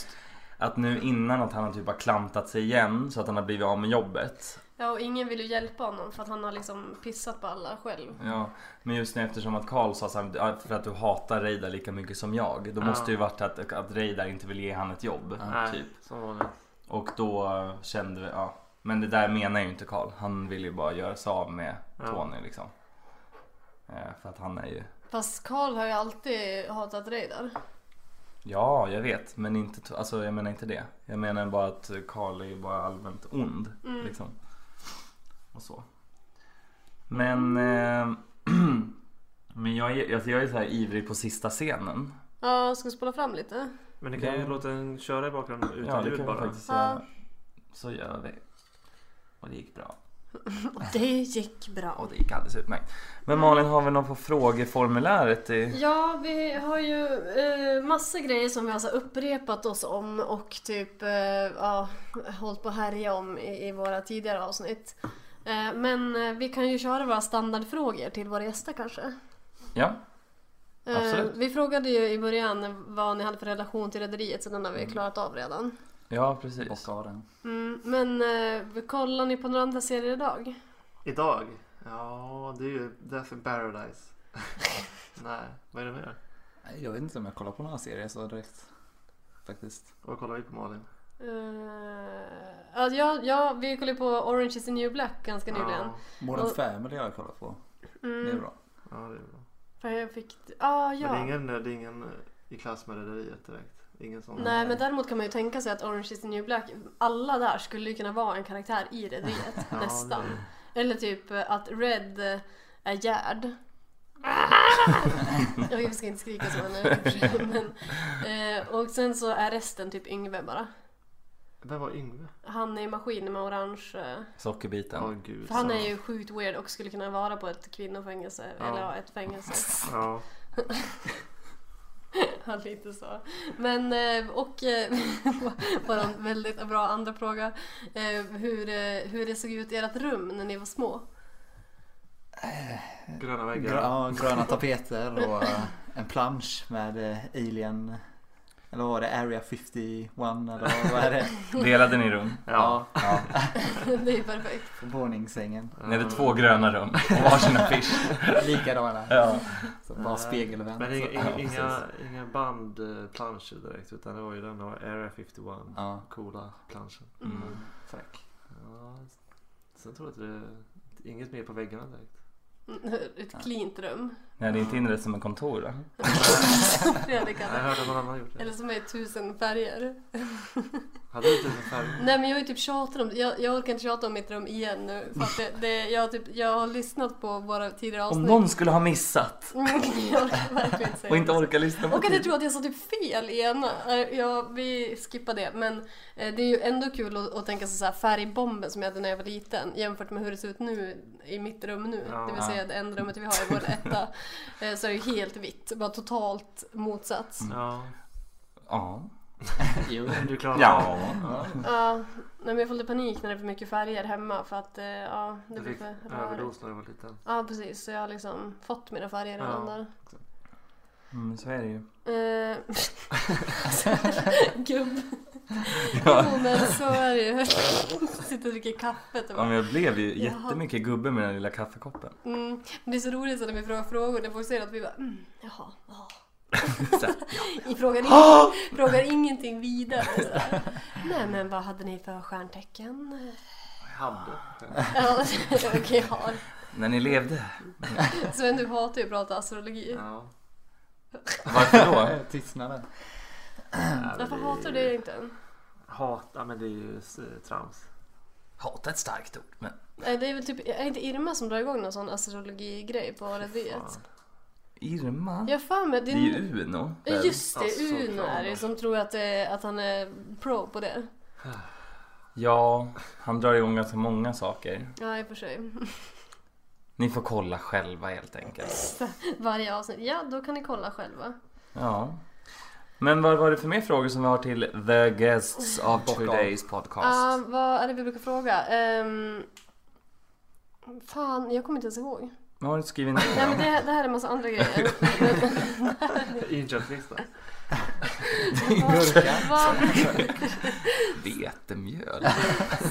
S2: Att nu innan att han har typ har klantat sig igen så att han har blivit av med jobbet.
S4: Ja, och ingen vill ju hjälpa honom för att han har liksom pissat på alla själv.
S2: Ja, men just nu eftersom att Karl sa så här, "Ja, för att du hatar Reidar lika mycket som jag. Då
S3: Ja.
S2: måste det ju varit att, att Reidar inte vill ge han ett jobb. Typ.
S3: Nej, som vanligt.
S2: Och då kände vi, ja. Men det där menar ju inte Karl. Han vill ju bara göra sig av med
S3: Ja.
S2: Tony liksom. Eh, för att han är ju...
S4: Fast Karl har ju alltid hatat Reidar.
S2: Ja, jag vet. Men inte, to- alltså, jag menar inte det. Jag menar bara att Karl är ju bara allmänt ond.
S4: Mm.
S2: Liksom. Och så. Men... Eh, men jag är, alltså, jag är så här ivrig på sista scenen.
S4: Ja, ska vi spola fram lite?
S3: Men ni kan ju
S2: Ja.
S3: låta den köra i bakgrunden
S2: Ja,
S3: utan
S2: det
S3: ljud
S2: kan vi
S3: bara.
S2: faktiskt
S4: Ja.
S2: göra. Så gör vi. Och det gick bra.
S4: Det gick bra.
S2: Och det gick alldeles utmärkt. Men Malin, har vi någon på frågeformuläret? I...
S4: Ja, vi har ju eh, massa grejer som vi alltså upprepat oss om och typ eh, ja, hållit på att härja om i, i våra tidigare avsnitt. Eh, men eh, vi kan ju köra våra standardfrågor till våra gäster kanske.
S2: Ja.
S4: Eh,
S2: Absolut.
S4: Vi frågade ju i början vad ni hade för relation till Rederiet, så den har vi
S3: Mm.
S4: klarat av redan.
S2: Ja, precis.
S5: Bocka av den.
S4: Mm, men eh, kollar ni på några andra serier idag?
S3: Idag? Ja, det är ju Death in Paradise. Nej, vad är det mer?
S5: Nej, Jag vet inte om jag kollar på några serier så direkt. Faktiskt.
S3: Vad kollar vi på Malin?
S4: Eh, ja, ja, ja, vi kollade på Orange is the new black ganska nyligen.
S3: Ja,
S5: Modern
S4: Och-
S5: Family har jag kollat på. Det är
S4: Mm,
S5: bra.
S3: ja, det är bra.
S4: för jag fick... Ah, ja.
S3: Men det är ingen, det är ingen eh, i klass med Rederiet direkt. Ingen sån.
S4: Nej men däremot kan man ju tänka sig att Orange is the new black, alla där skulle ju kunna vara en karaktär i Rederiet
S3: Ja, det-
S4: nästan. Eller typ eh, att Red eh, är Gerd. Jag vi ska inte skrika så nu. Men, eh, och sen så är resten typ Yngve bara.
S3: Vem var Yngve?
S4: Han är maskin med orange. eh,
S3: Ja,
S2: Sockerbiten.
S3: gud.
S4: För han är ju sjukt weird och skulle kunna vara på ett kvinnofängelse.
S3: Ja.
S4: Eller ja, ett fängelse.
S3: Ja.
S4: Han lite så. Men eh, och eh, vår väldigt bra andra fråga. Eh, Hur, eh, hur det såg ut i ert rum när ni var små?
S3: Gröna
S5: Grö-
S3: väggar.
S5: ja, gröna tapeter och eh, en plansch med eh, Alien. Eller vad var det? Area 51 eller vad är det?
S2: Delade ni rum?
S3: Ja.
S2: Ja.
S4: Det är ju perfekt.
S5: På våningssängen.
S2: Ni hade två gröna rum och varsin affisch.
S5: Likadana.
S2: Ja.
S5: Så bara spegelvänt.
S3: Men inga,
S5: Ja,
S3: inga,
S5: precis.
S3: inga, inga bandplanscher direkt utan det var ju den och Area 51.
S5: Ja,
S3: Coola planschen.
S2: Mm.
S5: fräck.
S3: Ja. Sen tror jag att det inget mer på väggarna direkt.
S4: Ett cleant rum.
S2: Ni hade inte inrett som en kontor då?
S4: Mm. Det hade
S3: Jag
S4: kallat.
S3: hörde att någon annan gjort
S4: Eller
S3: det.
S4: som är i tusen färger.
S3: Hade du inte en färg?
S4: Nej men jag har ju typ tjatat om jag, jag orkar inte tjata om mitt rum igen nu. För att det, det, jag, har typ, jag har lyssnat på våra tidigare
S2: Om
S4: avsnitt.
S2: någon skulle ha missat
S4: jag orkar verkligen inte säga
S2: och inte
S4: det.
S2: orkar lyssna på
S4: Och att jag
S2: tid.
S4: tror att jag sa typ fel i ena. Eh, Ja, vi skippar det. Men eh, det är ju ändå kul att, att tänka sig så här färgbomben som jag hade när jag var liten jämfört med hur det ser ut nu i mitt rum nu.
S3: Ja.
S4: Det vill säga det enda rummet vi har i vår etta. eh, Så är det ju helt vitt. Bara totalt motsats.
S3: Ja.
S2: Ja.
S5: Jo.
S3: Du klarar
S2: Ja.
S4: Ja, nej, men jag får lite panik när det är för mycket färger hemma för att eh, ja, det
S3: Jag
S4: blir
S3: fick
S4: för rörigt.
S3: överdos när jag var liten.
S4: Ja, precis. Så jag har liksom fått mina färger redan
S3: Ja.
S4: där.
S2: Mm, så är det ju.
S4: Eh, Gubb.
S2: Ja.
S4: Jo men så är det ju. Sitter och dricker kaffet och
S2: Ja,
S4: bara,
S2: men jag blev ju
S4: Jaha.
S2: jättemycket gubbe med den här lilla kaffekoppen.
S4: mm. Men Det är så roligt så när vi frågar frågor när folk säger att vi bara mm, jaha, jaha.
S2: Så här,
S4: Vi frågar,
S2: Ah!
S4: ing- frågar ingenting vidare. Så här. Nej men vad hade ni för stjärntecken?
S3: Jag
S5: Ah.
S3: hade.
S4: Ja, Okej, ja.
S2: När ni levde.
S4: Sven du hatar ju att prata astrologi.
S3: Ja.
S2: Varför då?
S5: Ja, Tystnaden.
S4: Varför hatar du det egentligen?
S3: Hata, men det är ju s- trams.
S2: Hata ett starkt ord. Men
S4: Nej, Det är väl typ, är inte Irma som drar igång någon sån astrologigrej på Rederiet?
S2: Irma?
S4: Jag har för mig, det
S2: Det
S4: är
S2: är ju Uno.
S4: Ja, Just det,
S3: Alltså,
S4: Uno
S3: fan
S4: eh, är det
S3: då.
S4: som tror att, det, att han är pro på det.
S2: Ja, han drar igång ganska många saker.
S4: Ja, i och för sig.
S2: Ni får kolla själva helt enkelt.
S4: Varje avsnitt. Ja, då kan ni kolla själva.
S2: Ja. Men vad var det för mer frågor som vi har till the guests of
S5: Bock av.
S2: today's podcast?
S4: Ah, vad är det vi brukar fråga? Ehm, fan, jag kommer inte ens ihåg.
S2: Jag har inte skrivit ner
S4: Nej men
S2: dem.
S4: det, det här är en massa andra grejer.
S3: Inköpslista.
S4: Vad- Vad
S2: Vetemjöl.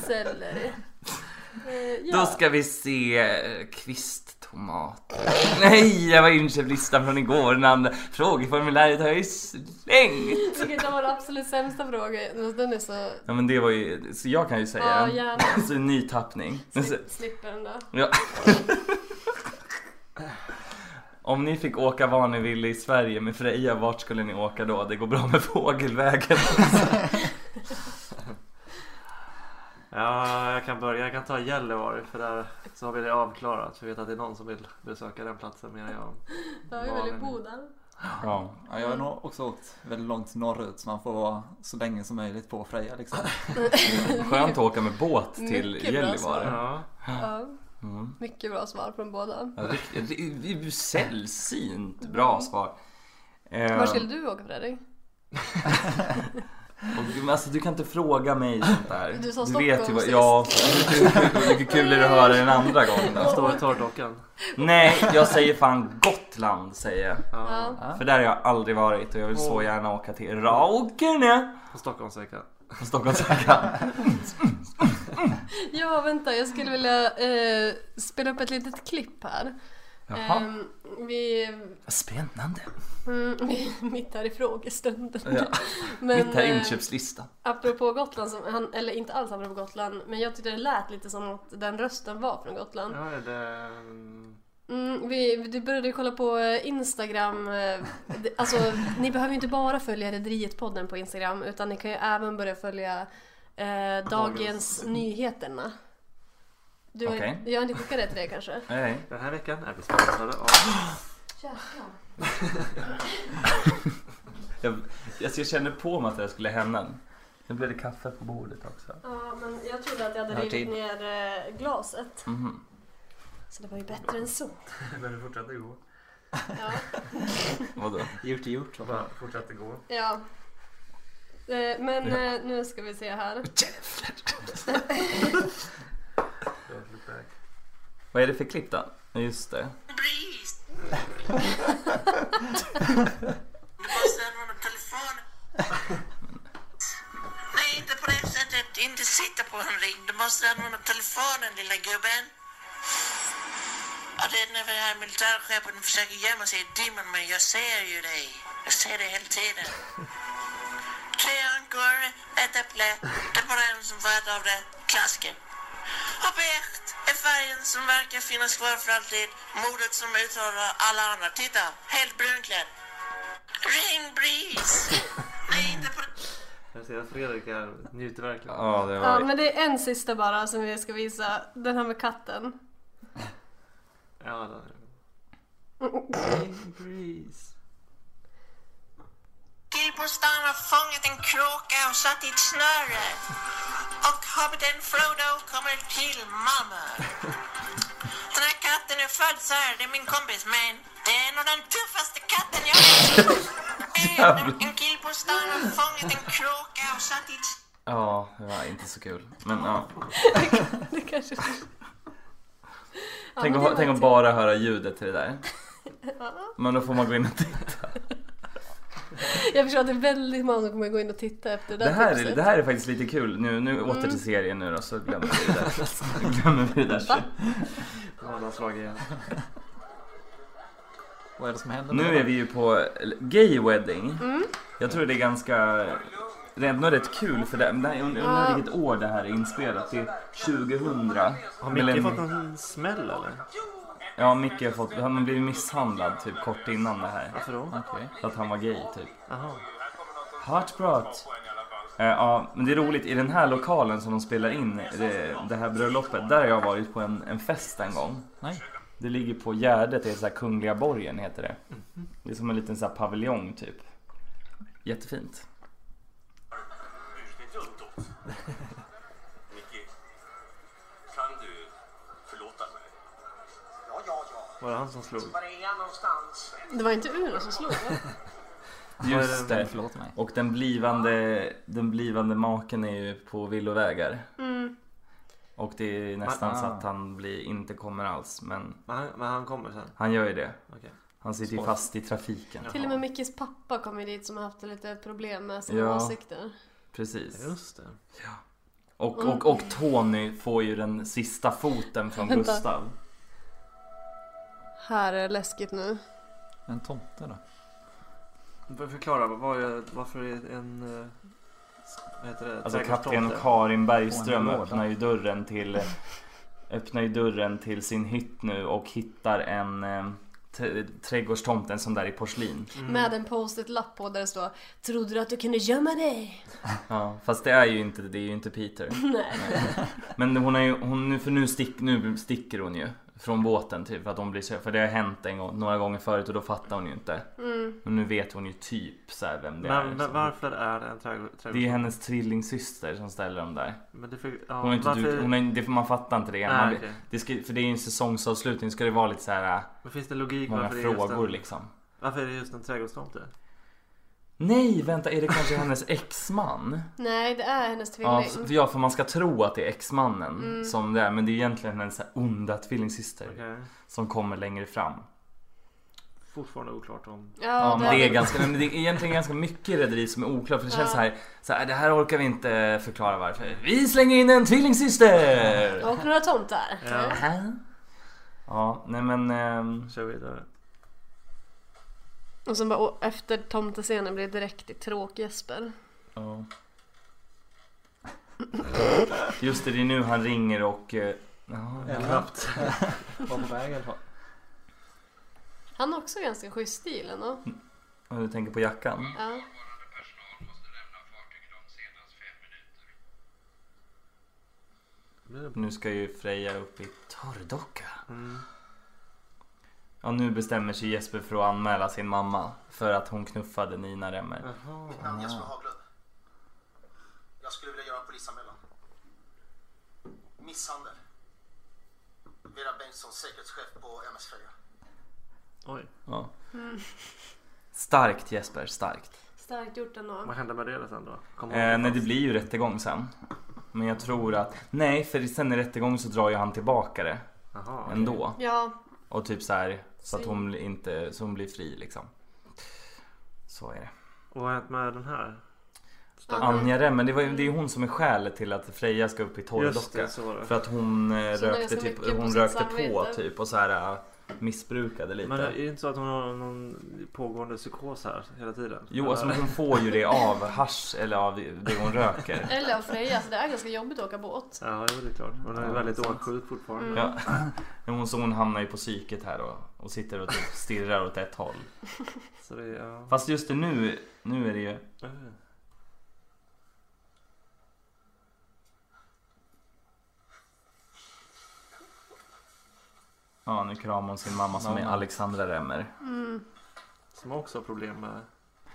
S4: selleri? Eh,
S2: Då
S4: ja.
S2: ska vi se eh, kvisttomater. Nej, jag var inköpslistan från igår. Den andra frågeformuläret har jag ju slängt.
S4: Vilket var den absolut sämsta frågan. Den är så...
S2: Ja men det var ju, så jag kan ju säga
S4: Ja,
S2: den.
S4: gärna.
S2: Så en ny tappning. Men så-
S4: Sli- Slipper den då.
S2: Ja. Om ni fick åka var ni ville i Sverige med Freja, vart skulle ni åka då? Det går bra med fågelvägen.
S3: Ja, jag kan börja. Jag kan ta Gällivare för där så har vi det avklarat. För jag vet att det är någon som vill besöka den platsen mer än jag.
S4: Jag är väldigt god där.
S2: Ja.
S5: Ja, jag har nog också åkt väldigt långt norrut så man får vara så länge som möjligt på Freja liksom.
S2: Skönt att åka med båt till
S4: Mycket bra svar.
S2: Gällivare.
S3: Ja.
S4: Ja.
S2: Mm.
S4: Mycket bra svar från båda.
S2: Ja, det- det- det är ju Sällsynt bra svar. Eh,
S4: Var skulle du åka Fredrik?
S2: och, men alltså, du kan inte fråga mig sånt där.
S4: Du sa
S2: vet ju
S4: Stockholm
S2: vad,
S4: sist.
S2: Ja, hur mycket kul är det att höra den andra gången då.
S3: Står i torrdockan.
S2: Nej, jag säger fan Gotland säger jag.
S3: Ja.
S4: Ja.
S2: För där har jag aldrig varit och jag vill så
S3: Åh.
S2: gärna åka till Raukene
S3: På Stockholmsveckan.
S2: på Stockholmsveckan.
S4: ja, vänta. Jag skulle vilja eh, spela upp ett litet klipp här.
S2: Jaha,
S4: Ehm, vi
S2: spännande.
S4: Mm, mitt här i frågestunden.
S2: Ja.
S4: Men,
S2: Mitt här
S4: eh,
S2: inköpslista.
S4: apropå Gotland, som han, eller inte alls apropå Gotland, men jag tyckte det lät lite som att den rösten var från Gotland.
S3: Ja, är det... mm,
S4: Mm, vi, du började ju kolla på eh, Instagram. eh, det- Alltså, ni behöver ju inte bara följa Rederiet-podden på Instagram, utan ni kan ju även börja följa eh, Dagens Nyheterna. Du har,
S2: Okej.
S4: Jag har inte skickat det till dig kanske?
S2: Nej.
S3: Den här veckan är vi sponsrade av...
S2: Jag, alltså jag kände på mig att det här skulle hända. Nu blev det kaffe på bordet också.
S4: Ja, men jag trodde att jag hade
S5: Jag har rivit
S4: rivit
S5: tid.
S4: ner eh, glaset.
S2: Mhm.
S4: Så det var ju bättre än så.
S3: Men det fortsatte gå.
S4: Ja.
S2: Vadå?
S5: Gjort är gjort. vad fan.
S3: fortsatte gå.
S4: Ja. Eh, Men eh, nu ska vi se här.
S2: Vad är det för klipp då? Ja, Just det.
S7: Brist! Du måste ha honom telefonen. Nej, inte på det sättet. Inte sitta på en ring. Du måste ha honom telefonen, lilla gubben. Och det är när den här militärchefen försöker gömma sig i dimman, men jag ser ju dig. Jag ser dig hela tiden. Tre ankor, ett äpple. Det är bara en som får äta av det. Klassiker. Och Bert är färgen som verkar finnas kvar för alltid. Modet som utmanar alla andra. Titta, helt brunklädd. Ring Breeze! Nej, inte på...
S3: Jag ser att Fredrik här njuter verkligen.
S2: Ja, det
S4: Ja,
S2: var
S4: men det är en sista bara som vi ska visa. Den här med katten.
S3: Ja, det Breeze.
S7: Gilbostan har fångat en kråka och satt i ett snöre. Och hobbiten Frodo kommer till mamma. Den här katten är född så här, det är min kompis, men det är nog den tuffaste katten jag har sett. En kille på stan har fångat en kråka och satt i ett
S2: Ja, det var inte så kul. Men ja.
S4: Det kanske... Ja,
S2: Tänk,
S4: men
S2: att,
S4: det
S2: ha-
S4: var
S2: tänk att
S4: tur.
S2: bara höra ljudet till det där. Men då får man gå in och titta.
S4: Jag förstår att det är väldigt många som kommer gå in och titta efter det
S2: Det
S4: där
S2: här, är,
S4: tipset. Mm.
S2: det här är faktiskt lite kul. Nu, nu åter till serien nu då så glömmer vi det där. glömmer vi det där.
S3: Nu har han slagit igen.
S5: Vad är det som händer
S2: Nu är vi ju på Gay Wedding.
S4: Mm.
S2: Jag tror det är ganska... Det är ändå rätt kul för det. Men det här, jag undrar- jag undrar
S4: Ja.
S2: vilket år det här är inspelat. Det är 2000.
S3: Har
S2: Millenn-
S3: Micke fått någon smäll eller?
S2: Ja, Micke har fått... Han blev misshandlad typ kort innan det här.
S3: Varför då?
S5: Okej.
S2: För att han var gay typ.
S3: Jaha.
S2: Hårt prat. Eh, Ja, men det är roligt. I den här lokalen som de spelar in det, det här bröllopet. Där har jag varit på en, en fest en gång.
S5: Nej.
S2: Det ligger på Gärdet, det är så här Kungliga borgen heter det.
S5: Mhm.
S2: Det är som en liten så här paviljong typ. Jättefint.
S3: Var det han som slog?
S1: Var är han någonstans?
S4: Det var inte Uno som slog va?
S2: Just
S3: Vad är
S2: det.
S3: det?
S5: eh, Förlåt mig.
S2: Och den blivande, den blivande maken är ju på villovägar.
S4: Mm.
S2: Och det är nästan
S5: Ah.
S2: så att han blir, inte kommer alls. Men
S3: Men han, men han kommer sen?
S2: han gör ju det.
S3: Okej.
S2: Han sitter ju
S5: Smart.
S2: fast i trafiken.
S4: Till och med Mickes pappa kom ju dit som har haft lite problem med sina
S2: Ja.
S4: åsikter.
S2: Precis.
S3: Just det.
S2: Och, och, och Tony får ju den sista foten från
S4: Vänta.
S2: Gustav.
S4: Här är det läskigt nu.
S5: En tomte då?
S3: Du får Förklara, vad är, varför är en... eh, Vad heter det?
S2: Alltså kapten
S3: Trädgårdstomte?
S2: Karin Bergström
S5: Och en låda.
S2: öppnar ju dörren till öppnar ju dörren till sin hytt nu och hittar en eh, t- trädgårdstomten som där i porslin.
S4: Med en post-it-lapp på där det står Trodde du att du kunde gömma dig?
S2: Ja, fast det är ju inte det är ju inte Peter. Men hon är ju hon nu för nu stick nu sticker hon ju från båten typ för att hon blir så för det har hänt en gång några gånger förut och då fattar hon ju inte. Men nu vet hon ju typ så här vem det är. liksom.
S3: Men va-
S2: som-
S3: varför är det en trädgård?
S2: Det är hennes tvillingsyster som ställer dem där.
S3: Men det för, ja,
S2: Hon har inte,
S3: varför,
S2: du, hon har, det, man fattar inte det. Man,
S3: nej, okej.
S2: det ska, för det är ju en säsongsavslutning. Ska det vara lite så här äh,
S3: Men finns det logik
S2: många
S3: varför, det är just
S2: frågor
S3: en,
S2: liksom.
S3: varför är det just en trädgårdstomte?
S2: Nej, vänta. Är det kanske hennes exman?
S4: Nej, det Mm. är hennes
S2: Ja,
S4: tvilling.
S2: f- ja, för man ska tro att det är exmannen som det är. Men det är egentligen hennes så här onda tvillingsyster
S3: Okej.
S2: som kommer längre fram.
S3: Fortfarande oklart om...
S4: Ja,
S2: Ja,
S4: det
S2: men det är ganska, men det är egentligen ganska mycket i Rederi som är oklart. För det känns
S4: Ja.
S2: så här, så här. Det här orkar vi inte förklara varför. Vi slänger in en tvillingsyster!
S4: Och några tomtar.
S3: Ja.
S2: Här. Ja, nej men. ehm,
S3: Kör vidare.
S4: Och sen bara, och efter tomtescenen blir det direkt i tråk-Jesper.
S2: Ja. Just det, det är nu han ringer och... eh, Ja,
S3: Knappt.
S5: Var på väg i alla fall.
S4: Han har också ganska schysst stil ändå.
S2: Mm. och du tänker på jackan.
S4: Ja.
S2: Nu ska ju Freja upp i torrdocka.
S3: Mm.
S2: Ja, nu bestämmer sig Jesper för att anmäla sin mamma för att hon knuffade Nina Remmer.
S3: Jaha.
S1: Mitt namn är Jesper Haglund. Jag skulle vilja göra en polisanmälan. Misshandel. Vera Bengtsson, säkerhetschef på MS Freja.
S3: Oj,
S2: Ja. Starkt Jesper, starkt.
S4: Starkt gjort ändå.
S2: Mm.
S3: vad hände med det sen då? Kom hon
S2: Eh, nej,
S3: fast?
S2: det blir ju rättegång sen. Men jag tror att... Nej, för sen i rättegång så drar ju han tillbaka det
S3: Jaha, okej.
S2: ändå.
S4: Ja,
S2: Och typ så här så att
S4: Fri.
S2: hon blir inte så hon blir fri liksom. Så är det.
S3: Och vad har hänt med den här?
S2: Anja Remmer, det, var, ju- det är ju hon som är skälet till att Freja ska upp i
S3: Just
S2: torrdocka.
S3: det, så var det.
S2: För att hon eh,
S4: Så hon
S2: rökte,
S4: har ganska
S2: typ,
S4: mycket på
S2: hon
S4: sitt
S2: rökte på
S4: samvete.
S2: typ och så här eh, missbrukade lite.
S3: Men eh, är det inte så att hon har någon pågående psykos här hela tiden?
S2: Jo, alltså men hon får ju det av hasch eller av det hon röker.
S4: Eller av Freja, så det är ganska jobbigt att åka båt.
S3: Ja, jo, det är klart. Hon är
S2: Ja,
S3: väldigt
S2: sant. Mm.
S3: åksjuk fortfarande.
S2: Ja. Men Hon, så hon hamnar ju på psyket här och, och sitter och typ stirrar åt ett håll.
S3: Så det är... Ja.
S2: Fast just det nu, nu är det ju...
S3: Mm.
S2: Ja, nu kramar hon sin mamma som är
S5: Mamma.
S2: Alexandra Remmer.
S3: Som också har problem med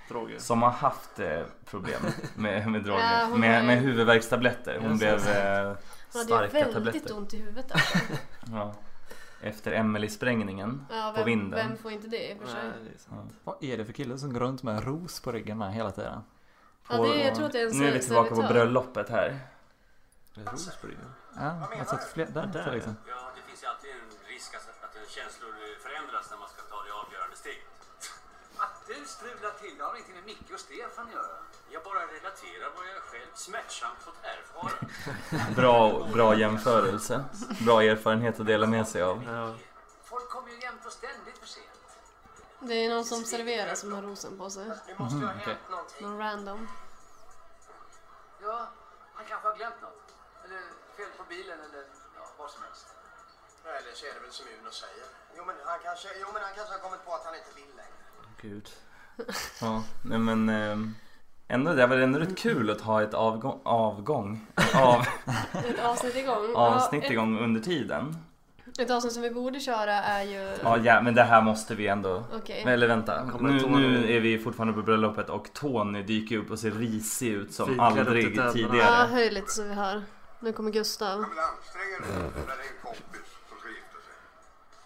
S3: droger.
S2: Som har haft eh, problem med, med
S4: Ja,
S2: droger.
S4: hon har
S2: med,
S4: ju-
S2: med huvudvärkstabletter. Hon
S3: Just
S2: blev
S3: det.
S2: eh,
S4: Hon hade ju
S2: starka
S4: väldigt
S2: tabletter.
S4: ont i huvudet.
S2: Ja. Efter Emelie-sprängningen
S4: Ja,
S2: på
S4: vem,
S2: vinden.
S4: vem får inte det i och för sig?
S3: Nej, det är sant.
S5: Vad är det för kille som går runt med en ros på ryggen med hela tiden?
S4: Ja, det, jag tror att det är en
S2: Nu är vi tillbaka på
S4: servitör.
S2: bröllopet här.
S3: Det är ros på ryggen.
S5: Ja, jag har sett fler där
S3: Där,
S5: också liksom.
S8: Ja, det finns ju alltid en risk att, att känslor förändras när man ska ta det avgörande steget.
S1: Att du strular till det har inte med Micke och Stefan att göra.
S8: Jag bara relaterar vad jag själv smärtsamt fått erfara.
S2: Bra, bra jämförelse. Bra erfarenhet att dela med sig av.
S3: Ja.
S1: Folk kommer ju jämt och ständigt för sent.
S4: Det är någon som serverar som har rosen på sig.
S1: Nu måste ju ha hänt någonting.
S4: Någon random.
S1: Ja, han kanske har glömt något. Eller fel på bilen eller ja, vad som helst. Eller så är det väl som Uno säger. Jo men, han kanske, jo, men han kanske har kommit på att han inte vill längre.
S2: Gud. Ja, nej men. ehm, Ändå, det var ändå rätt kul att ha ett avgång, avgång, av,
S4: Ett avsnitt igång.
S2: avsnitt
S4: ja,
S2: igång under tiden.
S4: Ett, ett avsnitt som vi borde köra är ju...
S2: Ja, ja, men det här måste vi ändå.
S4: Okej.
S2: Eller vänta,
S3: Kommer
S2: nu,
S3: Tony-
S2: nu är vi fortfarande på bröllopet och Tony dyker upp och ser risig ut som
S3: Finklädd upp till
S2: aldrig
S3: tänderna.
S4: Ja,
S2: tidigare.
S4: höj lite så vi hör. Nu kommer Gustav.
S6: Ja, men ansträng dig nu. Det där är en kompis som ska gifta sig.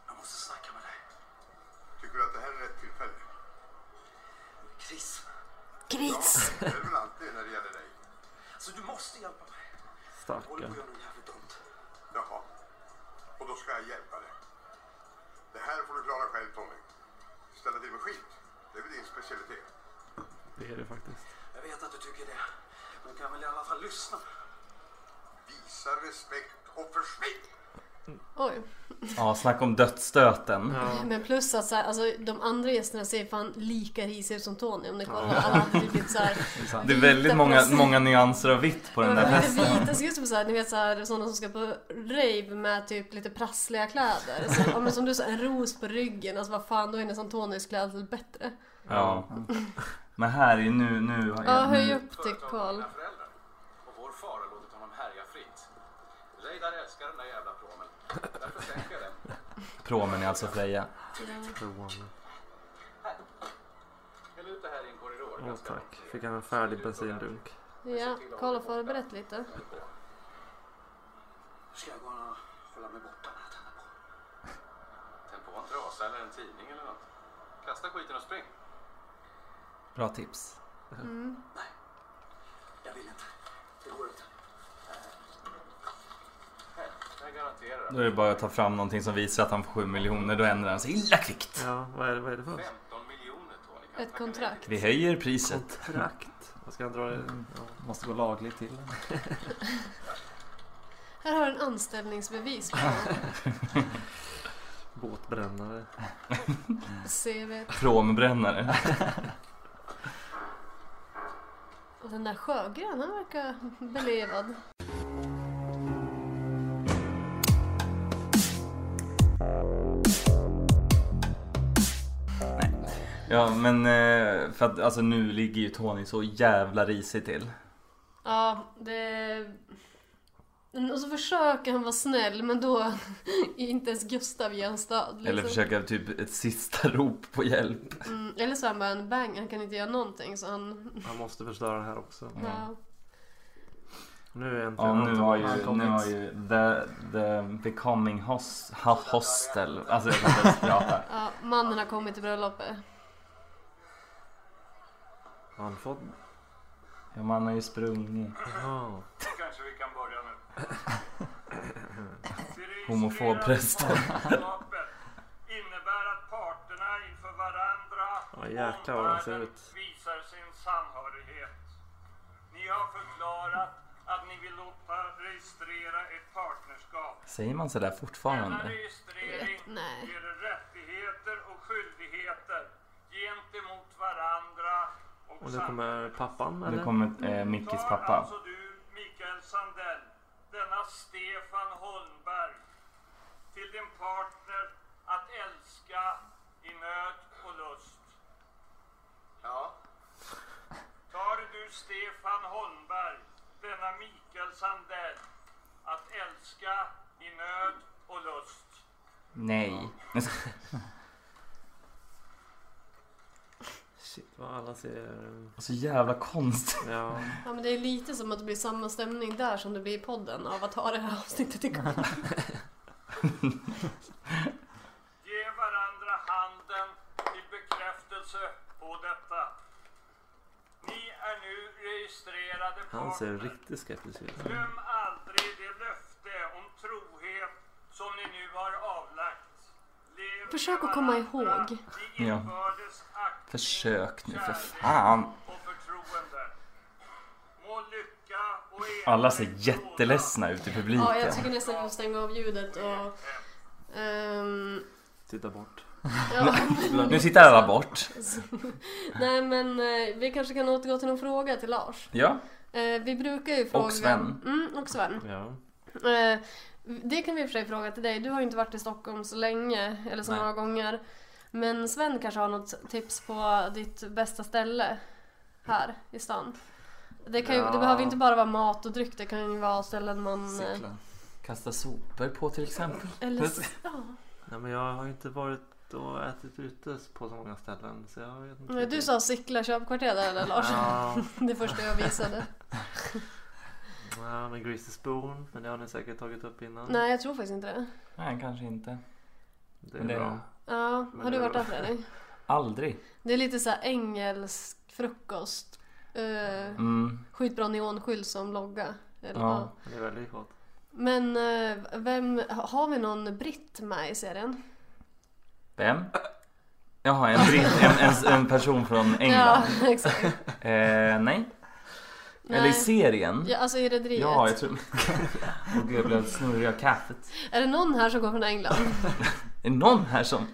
S8: Jag måste snacka med dig.
S4: Gris!
S6: Ja, det är väl alltid när det gäller dig.
S1: Alltså du måste hjälpa mig. Jag håller på
S3: Stackarn.
S1: att göra något jävligt dumt.
S6: Jaha. Och då ska jag hjälpa dig. Det här får du klara själv Tommy. Ställa till med skit. Det är väl din specialitet.
S3: Det är det faktiskt.
S1: Jag vet att du tycker det. Men du kan väl i alla fall lyssna.
S6: Visa respekt och försvinn!
S4: Oj.
S2: Ja, snacka om dödsstöten.
S3: Ja.
S4: Men plus att så här, alltså, de andra gästerna ser fan lika risiga ut som Tony om ni kollar. Alla hade blivit så här,
S2: Det är väldigt
S4: vita
S2: många,
S4: plast-
S2: många nyanser av vitt på den där
S4: Men
S2: festen.
S4: vita ser ut som såhär, ni vet såhär, sådana som ska på rave med typ lite prassliga kläder. Så, ja, men som du sa, en ros på ryggen. Alltså vad fan, då är nästan Tonys klädsel bättre.
S2: Ja. Men här är ju nu, nu, har
S4: Ja,
S2: jag-
S4: höj
S2: nu.
S4: upp dig Karl.
S8: mina föräldrar. Och vår far har låtit honom härja fritt. Reidar älskar den där jävla pråmen. Därför sänker jag den.
S2: Promen är alltså Freja.
S8: Häll ut det här i en korridor.
S3: Åh tack. Fick han en färdig bensindunk.
S4: Ja, Karl har förberett lite.
S1: Nu ska jag gå och hålla mig borta när jag tänder på.
S8: Tänd på en trasa eller en tidning eller något. Kasta skiten och spring.
S2: Bra tips.
S1: Jag vill inte. Det går inte.
S8: Här, jag garanterar att
S2: Då är det bara att ta fram någonting som visar att han får 7 miljoner. Då ändrar han sig illa kvickt.
S3: Ja, vad är det, vad är det för?
S8: 15 miljoner Tony
S4: Ett
S8: kan tacka nej till.
S4: kontrakt.
S2: Vi höjer priset.
S3: Kontrakt. Vad ska han dra det? Ja.
S5: Måste gå lagligt till.
S4: Här har du en anställningsbevis på
S3: Båtbrännare.
S4: CV.
S2: Prombrännare.
S4: Och den där Sjögren, han verkar belevad.
S2: Ja men eh, för att alltså nu ligger ju Tony så jävla risig till.
S4: Ja, det... Och så försöker han vara snäll men då är inte ens Gustav ger en stöd.
S2: Eller
S4: liksom.
S2: försöka typ ett sista rop på hjälp.
S4: Mm, eller så är han bara en bang, han kan inte göra någonting så han...
S3: Han måste förstöra det här också.
S4: Ja.
S3: Nu är äntligen
S2: Ja nu
S3: Anton
S2: har ju, nu
S3: ankommit.
S2: har ju the, the becoming host, ha, hostel. Alltså jag kan inte ens prata.
S4: ja, mannen har kommit till bröllopet.
S3: Har han fått?
S2: Ja, man har ju sprungit.
S3: Ja.
S8: Kanske vi kan börja nu.
S2: Homofobprästen.
S8: Fördraget innebär att parterna inför varandra
S3: Ja, jäklar vad han ser ut.
S8: visar sin samhörighet. Ni har förklarat att ni vill låta registrera ett partnerskap.
S2: Säger man sådär fortfarande?
S8: Registrering
S4: Nej.
S8: ger rättigheter och skyldigheter gentemot varandra och,
S3: Och nu kommer pappan
S2: Nu
S3: eller?
S2: kommer eh, Mickis pappa.
S8: alltså du, Mikael Sandell, denna Stefan Holmberg, till din partner att älska i nöd och lust.
S1: Ja.
S8: Tar du Stefan Holmberg, denna Mikael Sandell, att älska i nöd och lust?
S2: Nej.
S3: Shit vad alla ser...
S2: Så jävla konstigt.
S3: Ja.
S4: Ja men det är lite som att det blir samma stämning där som det blir i podden av att ha det här avsnittet igång.
S8: Ge varandra handen till bekräftelse på detta. Ni är nu registrerade
S3: Han ser
S8: partner.
S3: riktigt skeptisk ut.
S8: Glöm aldrig det löfte om trohet som ni nu har avlagt. Lev
S4: Försök
S8: med
S4: att komma
S8: varandra
S4: ihåg.
S8: i
S2: Ja.
S8: inbördes aktning,
S2: Försök nu för
S8: kärlek
S2: fan.
S8: och förtroende. Må lycka och
S2: Alla ser
S8: enighet
S2: jätteledsna ut i publiken.
S4: Ja, jag tycker nästan att vi får stänga av ljudet och... ehm,
S3: Titta bort.
S4: ja.
S2: Nu sitter alla bort.
S4: Nej men eh, vi kanske kan återgå till någon fråga till Lars.
S2: Ja,
S4: Eh, vi brukar ju fråga...
S2: Sven.
S4: Mm, och Sven.
S3: Ja.
S4: Eh, Det kan vi i och för sig fråga till dig. Du har ju inte varit i Stockholm så länge, eller så
S2: Nej.
S4: många gånger. Men Sven kanske har något tips på ditt bästa ställe här i stan? Det, kan ju, det
S3: Ja.
S4: behöver inte bara vara mat och dryck, det kan ju vara ställen man... eh,
S5: Cykla.
S2: kasta sopor på till exempel.
S4: Eller, ja.
S3: Nej men jag har ju inte varit och ätit ute på så många ställen så jag vet inte.
S4: Men Du sa Sickla köpkvarter där eller Lars?
S3: Ja,
S4: Det första jag visade.
S3: ja, men Greasy Spoon. Men det har ni säkert tagit upp innan.
S4: Nej, jag tror faktiskt inte det.
S2: Nej, kanske inte.
S3: Det är
S2: Men det-
S3: bra.
S4: Ja, har
S3: det
S4: du
S3: är
S4: varit där
S3: bra.
S4: Fredrik?
S2: Aldrig.
S4: Det är lite så här engelsk frukost Eh,
S2: Mm.
S4: Skitbra neonskylt som logga. Eller,
S2: Ja.
S4: ja.
S3: Det är väldigt gott.
S4: Men eh, vem, har vi någon britt med i serien?
S2: Vem? Jaha, en, britt, en, en, en person från England.
S4: Ja, exakt.
S2: Eh, nej. Eller i
S4: Nej.
S2: serien?
S4: Ja, alltså i Rederiet.
S2: Ja, jag tror... Åh gud, jag blev snurrig av kaffet.
S4: Är det någon här som går från England?
S2: Är det någon här som...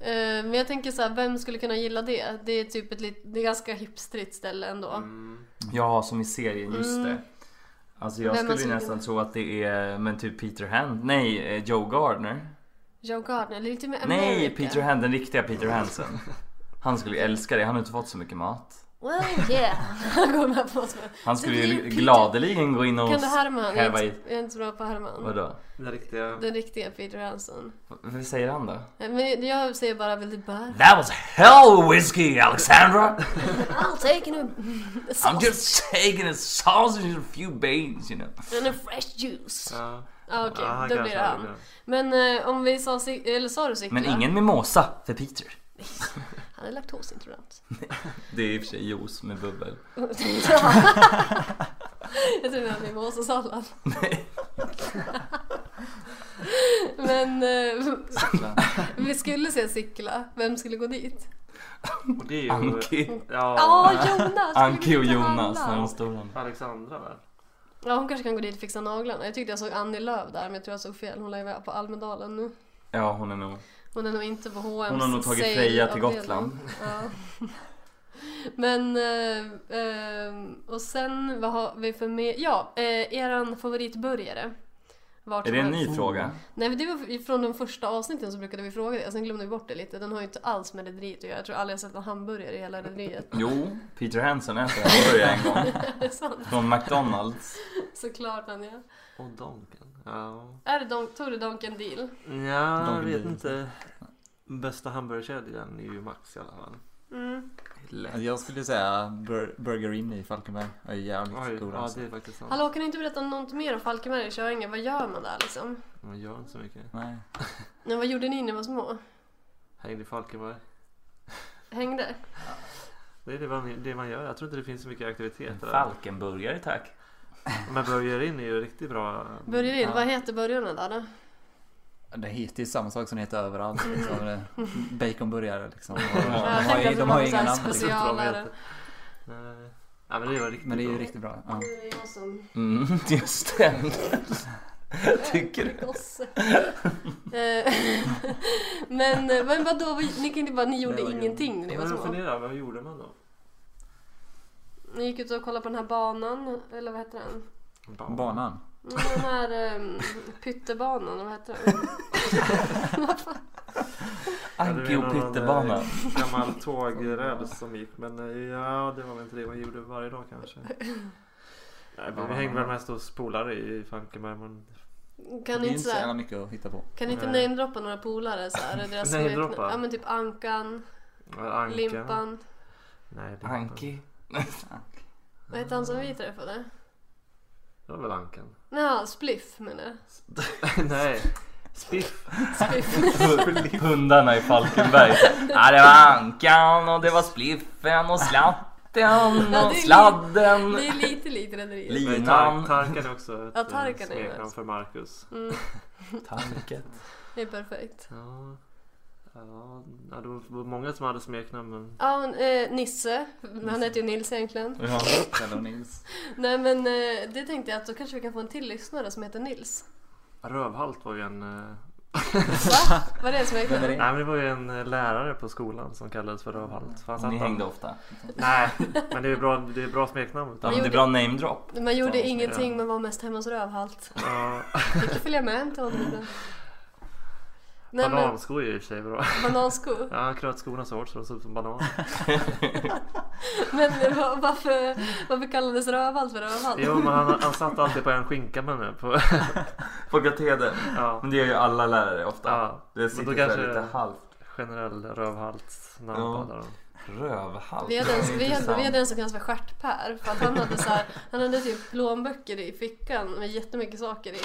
S4: Eh, Men jag tänker så här, vem skulle kunna gilla det? Det är typ ett lit, det är ganska hipstrigt ställe ändå.
S2: Mm.
S3: Mm.
S2: Ja, som i serien, just det. Alltså jag
S4: Mm. Vem
S2: skulle
S4: man
S2: ju
S4: skulle
S2: nästan
S4: kunna-
S2: tro att det är, men typ Peter Hand. Nej, eh, Joe Gardner.
S4: Joe Gardner, eller lite mer
S2: Nej,
S4: America.
S2: Peter Hand, den riktiga Peter Hansen. Han skulle ju älska det, han har inte fått så mycket mat.
S4: Well yeah. Han går med på oss med.
S2: Han
S4: Så
S2: skulle
S4: det är
S2: ju
S4: Peter-
S2: gladeligen gå in och
S4: Kan du härma han? Jag
S2: häva
S4: är
S2: i...
S4: inte- jag är inte så bra på att härma han.
S2: Vadå?
S3: Den riktiga...
S4: Den riktiga Peter Hansen.
S2: V- Vad säger han då?
S4: Eh, Men jag säger bara vill du bär?
S2: That was hell whiskey, Alexandra!
S4: I'll take a
S2: I'm
S4: sauce
S2: just taking a sausage and a few beans, you know.
S4: and a fresh juice. Ja
S3: Ja.
S4: ah, okej,
S3: Ja, han
S4: då
S3: kanske
S4: blir det
S3: hade
S4: han. Men eh, om vi sa, si- eller sa du cykla?
S2: Men ingen mimosa för Peter.
S4: Han är laktosintolerant.
S2: Det är i och för sig juice med bubbel.
S4: Jag tror att vi måste sallad. Men eh, vi skulle se Sickla. Vem skulle gå dit?
S3: Och det är ju...
S2: Anki.
S4: Ja,
S3: Ja,
S4: Jonas! skulle vi
S2: Anki och
S4: inte
S2: Jonas
S4: handla?
S2: när de stod där.
S3: Alexandra väl?
S4: Ja, hon kanske kan gå dit och fixa naglarna. Jag tyckte jag såg Annie Lööf där men jag tror jag såg fel. Hon lär ju vara på Almedalen nu.
S2: Ja, hon är nog...
S4: Hon är nog inte på H&M
S2: Hon har nog tagit Freja till Gotland.
S4: Ja. Men, eh, eh, och sen vad har vi för mer? Ja, eh, eran favoritburgare. Vart
S2: Är det
S4: som
S2: en
S4: helst.
S2: ny fråga?
S4: Nej men det var ju från de första avsnitten så brukade vi fråga det. Sen glömde vi bort det lite. Den har ju inte alls med rederiet att göra. Jag tror aldrig jag sett en hamburgare i hela rederiet.
S2: Jo, Peter Hansen äter hamburgare en gång.
S4: Är det sant?
S2: Från McDonalds.
S4: Såklart Anja.
S3: Och Donken. Ja.
S4: Är det Don- tog du Donken Deal?
S3: Ja, jag
S2: Donken
S3: vet
S2: Deal.
S3: inte. Bästa hamburgerkedjan är ju Max i alla fall.
S5: Alltså, Jag skulle säga bur- Burger Inn i Falkenberg. Det är jävligt
S3: Oj,
S5: god
S3: ja
S5: alltså.
S3: det är faktiskt sant.
S4: Hallå kan du inte berätta något mer om Falkenberg i Köinge? Vad gör man där liksom?
S3: Man gör inte så mycket.
S5: Nej.
S4: Men vad gjorde ni när ni var små?
S3: Hängde i Falkenberg.
S4: Hängde?
S3: Det är det man, det man gör. Jag tror inte det finns så mycket aktiviteter. där.
S2: Falkenburgare tack.
S3: Men Burger In är ju riktigt bra.
S4: Börjar in,
S5: Ja.
S4: vad heter burgarna där då?
S5: Det heter ju samma sak som det heter överallt. Liksom. Det- Baconburgare liksom. Och
S4: jag
S5: De har
S4: tänkte
S5: ju,
S4: att
S5: de
S4: de
S5: har
S4: hade
S5: ju
S4: så här
S5: inga namn. Liksom.
S4: specialare.
S3: Nej. Ja, men det var riktigt
S5: Men det är ju
S3: bra.
S5: riktigt bra. Ja.
S4: Nu är det jag som
S2: Mm, just det. Tycker du?
S4: gosse. Eh, men, eh, men vadå, vad- ni kan inte bara, ni gjorde
S5: Det var
S4: ingenting när ni var
S3: Men jag
S4: små?
S3: funderar, vad gjorde man då?
S4: Ni gick ut och kollade på den här banan, eller vad heter den?
S5: Banan.
S4: Mm, Den här um, pyttebanan, vad heter den?
S2: Anki och pyttebanan.
S3: Gammal tågräls som gick. Men eh, ja, det var väl inte det man gjorde varje dag kanske. Nej, men vi hängde väl mest hos polare i Falkenberg. Men...
S4: Kan
S5: det
S4: ni
S5: är
S4: inte,
S5: inte så jävla
S4: såhär,
S5: mycket att hitta på.
S4: kan ni inte
S3: Nej.
S4: namedroppa några polare såhär? Deras
S3: Namedroppa?
S4: smekna- Ja men typ Ankan,
S3: Ja, Anka.
S4: Limpan.
S3: Nej, Limpan.
S2: Anki.
S4: Vad hette han som vi träffade?
S3: Det var väl Ankan.
S4: Jaha, Spliff menar jag.
S3: Nej. Spiff.
S2: Hundarna i Falkenberg. Ja, det var Ankan och det var Spliffen och Slatten
S4: Ja,
S2: och
S4: det är
S2: Sladden.
S4: Det är lite likt Rederiet.
S2: Li-
S3: Nej,
S2: Innan-
S3: Tar- Tarkan är också ett
S4: Ja,
S3: ja,
S4: Tarkan är Mm.
S3: smeknamn
S4: det.
S3: för Marcus.
S2: Tanket.
S4: Det är perfekt.
S3: Ja. Ja, ja, det var många som hade smeknamn men...
S4: Ja, men, eh, Nisse. Han heter ju Nils egentligen.
S2: Ja.
S5: Eller Nils.
S4: Nej men eh, det tänkte jag att då kanske vi kan få en till lyssnare som heter Nils.
S3: Rövhalt var ju en... eh,
S4: Va? Vad är det som
S5: Vem är
S4: är
S5: det?
S3: Nej men det var ju en eh, lärare på skolan som kallades för Rövhalt. För han satt
S2: Ni
S3: han-
S2: hängde ofta.
S3: Nej, men det är ju bra, det är bra smeknamn.
S2: Ja,
S3: Ja.
S2: men det är bra name drop.
S4: Man gjorde
S2: Ja,
S4: ingenting men var mest hemma hos Rövhalt. Fick ju följa med till honom ibland. Nej men
S3: Banansko är ju i och för sig bra.
S4: banansko.
S3: Ja, han kröt skorna så hårt så de såg ut som banan.
S4: Men eh, va- varför, varför kallades Rövhalt för
S3: Jo
S4: Rövhalt?
S3: men han, han satt alltid på en skinka med mig. På,
S2: På katedern.
S3: ja,
S2: Men det gör ju alla lärare ofta.
S3: Ja.
S2: Det
S3: Men
S2: sitter
S3: då
S2: så här
S3: kanske-
S2: lite halvt.
S3: generell Rövhalt namn
S2: Ja.
S3: på alla dem.
S2: Rövhalt.
S4: Vi hade,
S2: Det är
S4: en, vi, hade,
S2: intressant.
S4: vi hade en som kallades för Stjärt-Per för att han hade, så här, han hade typ plånböcker i fickan med jättemycket saker i.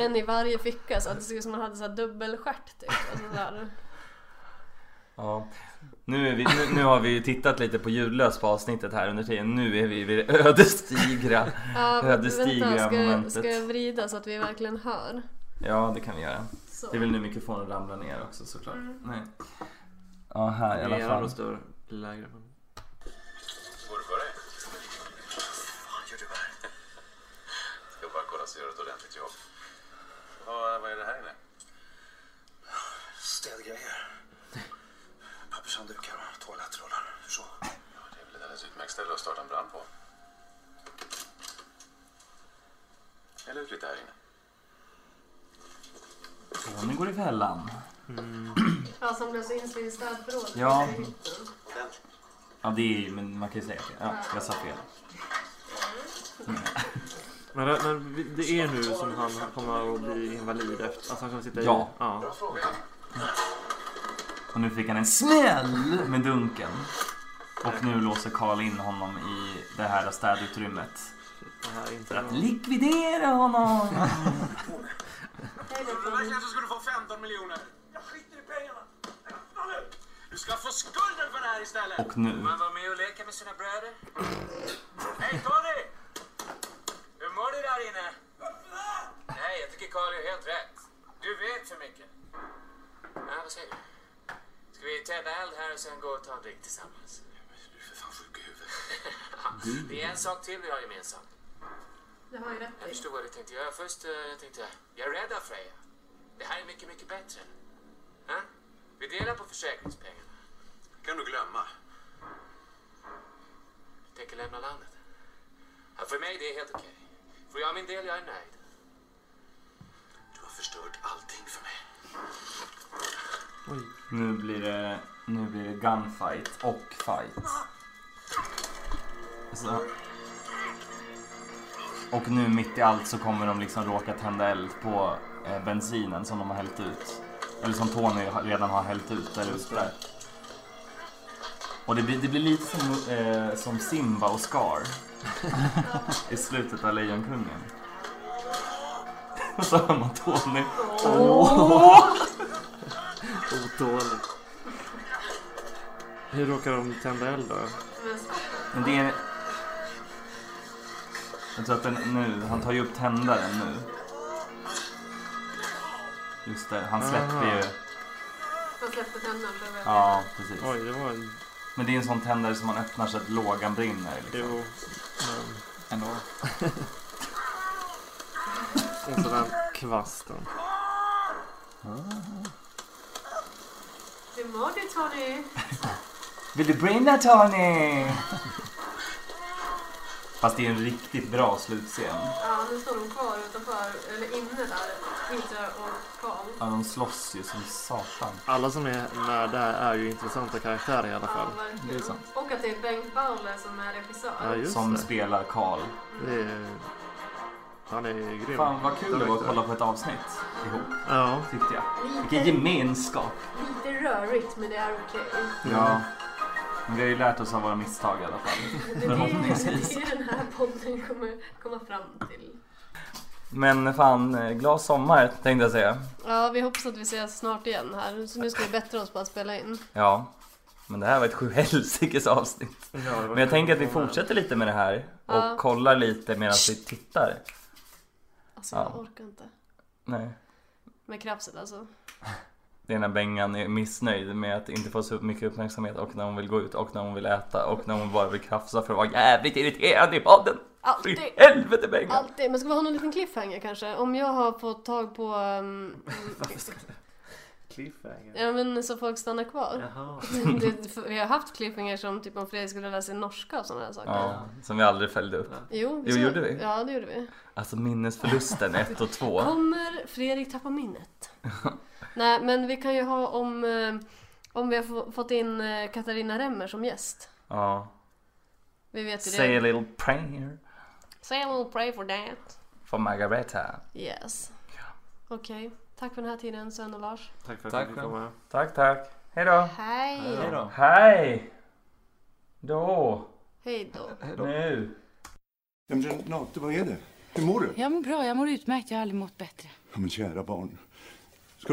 S4: En i varje ficka så att det såg ut som att han hade så här dubbelstjärt typ. Alltså, så här.
S2: Ja. Nu, är vi, nu, nu har vi ju tittat lite på ljudlöst på avsnittet här under tiden. Nu är vi vid det ödesdigra.
S4: Ja,
S2: Ja, det stiger
S4: vänta, ska, jag-
S2: momentet.
S4: ska jag vrida så att vi verkligen hör?
S2: Ja, det kan vi göra.
S4: Så.
S2: Det är väl nu mikrofonen ramlar ner också såklart. Nej. Ja, här i alla
S3: Era
S2: fall.
S3: röster blir lägre. Men...
S10: Går det för dig? Fan, gör du väl? Jag bara kollar så jag gör ett ordentligt jobb. Vad, vad är det här inne?
S1: Städgrejer. Pappershanddukar och toalettrullar. Så.
S10: Ja, det är väl ett alldeles utmärkt ställe att starta en brand på. Eller hur lite här inne?
S2: Ja, nu går det i fällan.
S4: Ja, som blev så inslagen i städbrådet.
S2: Ja. Ja, det är ju- men man kan ju säga att ja, jag sa fel.
S3: Men, det- men vi- det är nu som han kommer att bli invalid efter. Alltså han kommer sitta i...
S2: Ja.
S3: ja.
S2: Och nu fick han en smäll med dunken. Och nu låser Karl in honom i det här städutrymmet.
S3: Det här är
S2: För
S3: inte...
S2: att likvidera honom!
S10: Trodde du verkligen att du skulle få 15 miljoner? Jag skiter i pengarna! Du ska få skulden för det här istället!
S2: Och nu.
S10: Man var med och leka med sina bröder. Hej Tony! Hur mår du där inne? Nej, jag tycker Carl är helt rätt. Du vet för mycket. Ja, vad säger du? Ska vi tända eld här och sen gå och ta en drink tillsammans? Du är för fan sjuk i huvudet. Det är en sak till vi har gemensamt.
S4: Det har ju rätt
S10: Jag förstod vad du tänkte göra först. eh, Jag tänkte, jag är rädd av Freja. Det här är mycket, mycket bättre. Ja? Vi delar på försäkringspengarna. kan du glömma. Jag tänker lämna landet. Ja, för mig det är helt okej. Får jag min del, jag är nöjd. Du har förstört allting för mig.
S2: Nu blir det, nu blir det gunfight och fight. Så. Och nu mitt i allt så kommer de liksom råka tända eld på eh, bensinen som de har hällt ut. Eller som Tony har- redan har hällt ut där ute. Där. Och det blir, det blir lite som, eh, som Simba och Scar i slutet av Lejonkungen. Och så hör man Tony.
S3: Otåligt. Hur råkar de tända eld då?
S2: Men det är... Jag tror att den nu, han tar ju upp tändaren nu. Just det, han släpper ju.
S4: Man släppte tänderna bredvid.
S2: Ja, precis.
S3: Oj, det var en...
S2: Men det är en sån tändare som man öppnar så att lågan brinner. Liksom.
S3: Jo.
S5: Ändå.
S3: Men... Och så den kvasten.
S4: Hur mår du Tony?
S2: Vill du brinna Tony? Fast det är en riktigt bra slutscen.
S4: Ja, nu står de kvar utanför, eller inne där, Peter och Karl.
S2: Ja, de slåss ju som satan.
S3: Alla som är med där är ju intressanta karaktärer i alla
S4: Ja,
S3: fall.
S4: verkligen.
S5: Det är sant.
S4: Och att det är Bengt Bauler som är
S3: Ja,
S4: regissör.
S3: just
S2: Som
S3: det.
S2: spelar Karl.
S3: det är... Han är ju grym.
S2: Fan vad kul det var att
S3: Direkt.
S2: kolla på ett avsnitt ihop,
S3: Ja.
S2: tyckte jag. Vilken gemenskap.
S4: Lite rörigt, men det är okej.
S2: Ja. Men vi har ju lärt oss av våra misstag i alla fall.
S4: Det är det- det är den här podden kommer komma fram till.
S2: Men fan, eh, glad sommar tänkte jag säga.
S4: Ja, vi hoppas att vi ses snart igen här. Så nu ska vi bättra oss på att spela in.
S2: Ja. Men det här var ett sjuhelsikes avsnitt.
S3: Ja, det var
S2: Men jag
S3: kul
S2: tänker att
S3: att
S2: vi
S3: vara med.
S2: fortsätter lite med det här. Och
S4: Ja.
S2: kollar lite medan vi tittar.
S4: Alltså, jag
S2: Ja.
S4: orkar inte.
S2: Nej.
S4: Med krafset alltså.
S2: Det är när Bengan är missnöjd med att inte få så mycket uppmärksamhet och när hon vill gå ut och när hon vill äta och när hon bara vill krafsa för att vara jävligt irriterande i podden.
S4: Alltid!
S2: I helvete Bengan!
S4: Alltid! Men ska vi ha någon liten cliffhanger kanske? Om jag har fått tag på... Um,
S3: Cliffhanger.
S4: ja men så folk stannar kvar.
S3: Jaha.
S4: det, för vi har haft cliffhanger som typ om Fredrik skulle lära sig norska och sådana här saker.
S2: Ja, som vi aldrig följde upp.
S4: Jo,
S2: Jo, gjorde vi?
S4: Ja, det gjorde vi.
S2: Alltså minnesförlusten 1 och 2.
S4: Kommer Fredrik tappa minnet? Nej, men vi kan ju ha om, eh, om vi har få- fått in eh, Katarina Remmer som gäst.
S2: Ja.
S4: Vi vet ju
S2: Say a
S4: det.
S2: little prayer
S4: Say I will pray for that.
S2: for Margareta.
S4: Yes. Okej, tack för den här tiden Sven och Lars.
S3: Tack för att
S5: Tack
S3: du fick
S5: själv.
S3: komma.
S2: Tack, tack. Hej då.
S4: Hej!
S5: Hej då.
S2: Hej! Då.
S4: Hej då.
S2: Nu.
S6: Ja, men Renate, vad är det? Hur mår du?
S7: Jag mår bra, jag mår utmärkt. Jag har aldrig mått bättre.
S6: Ja, men kära barn. Ska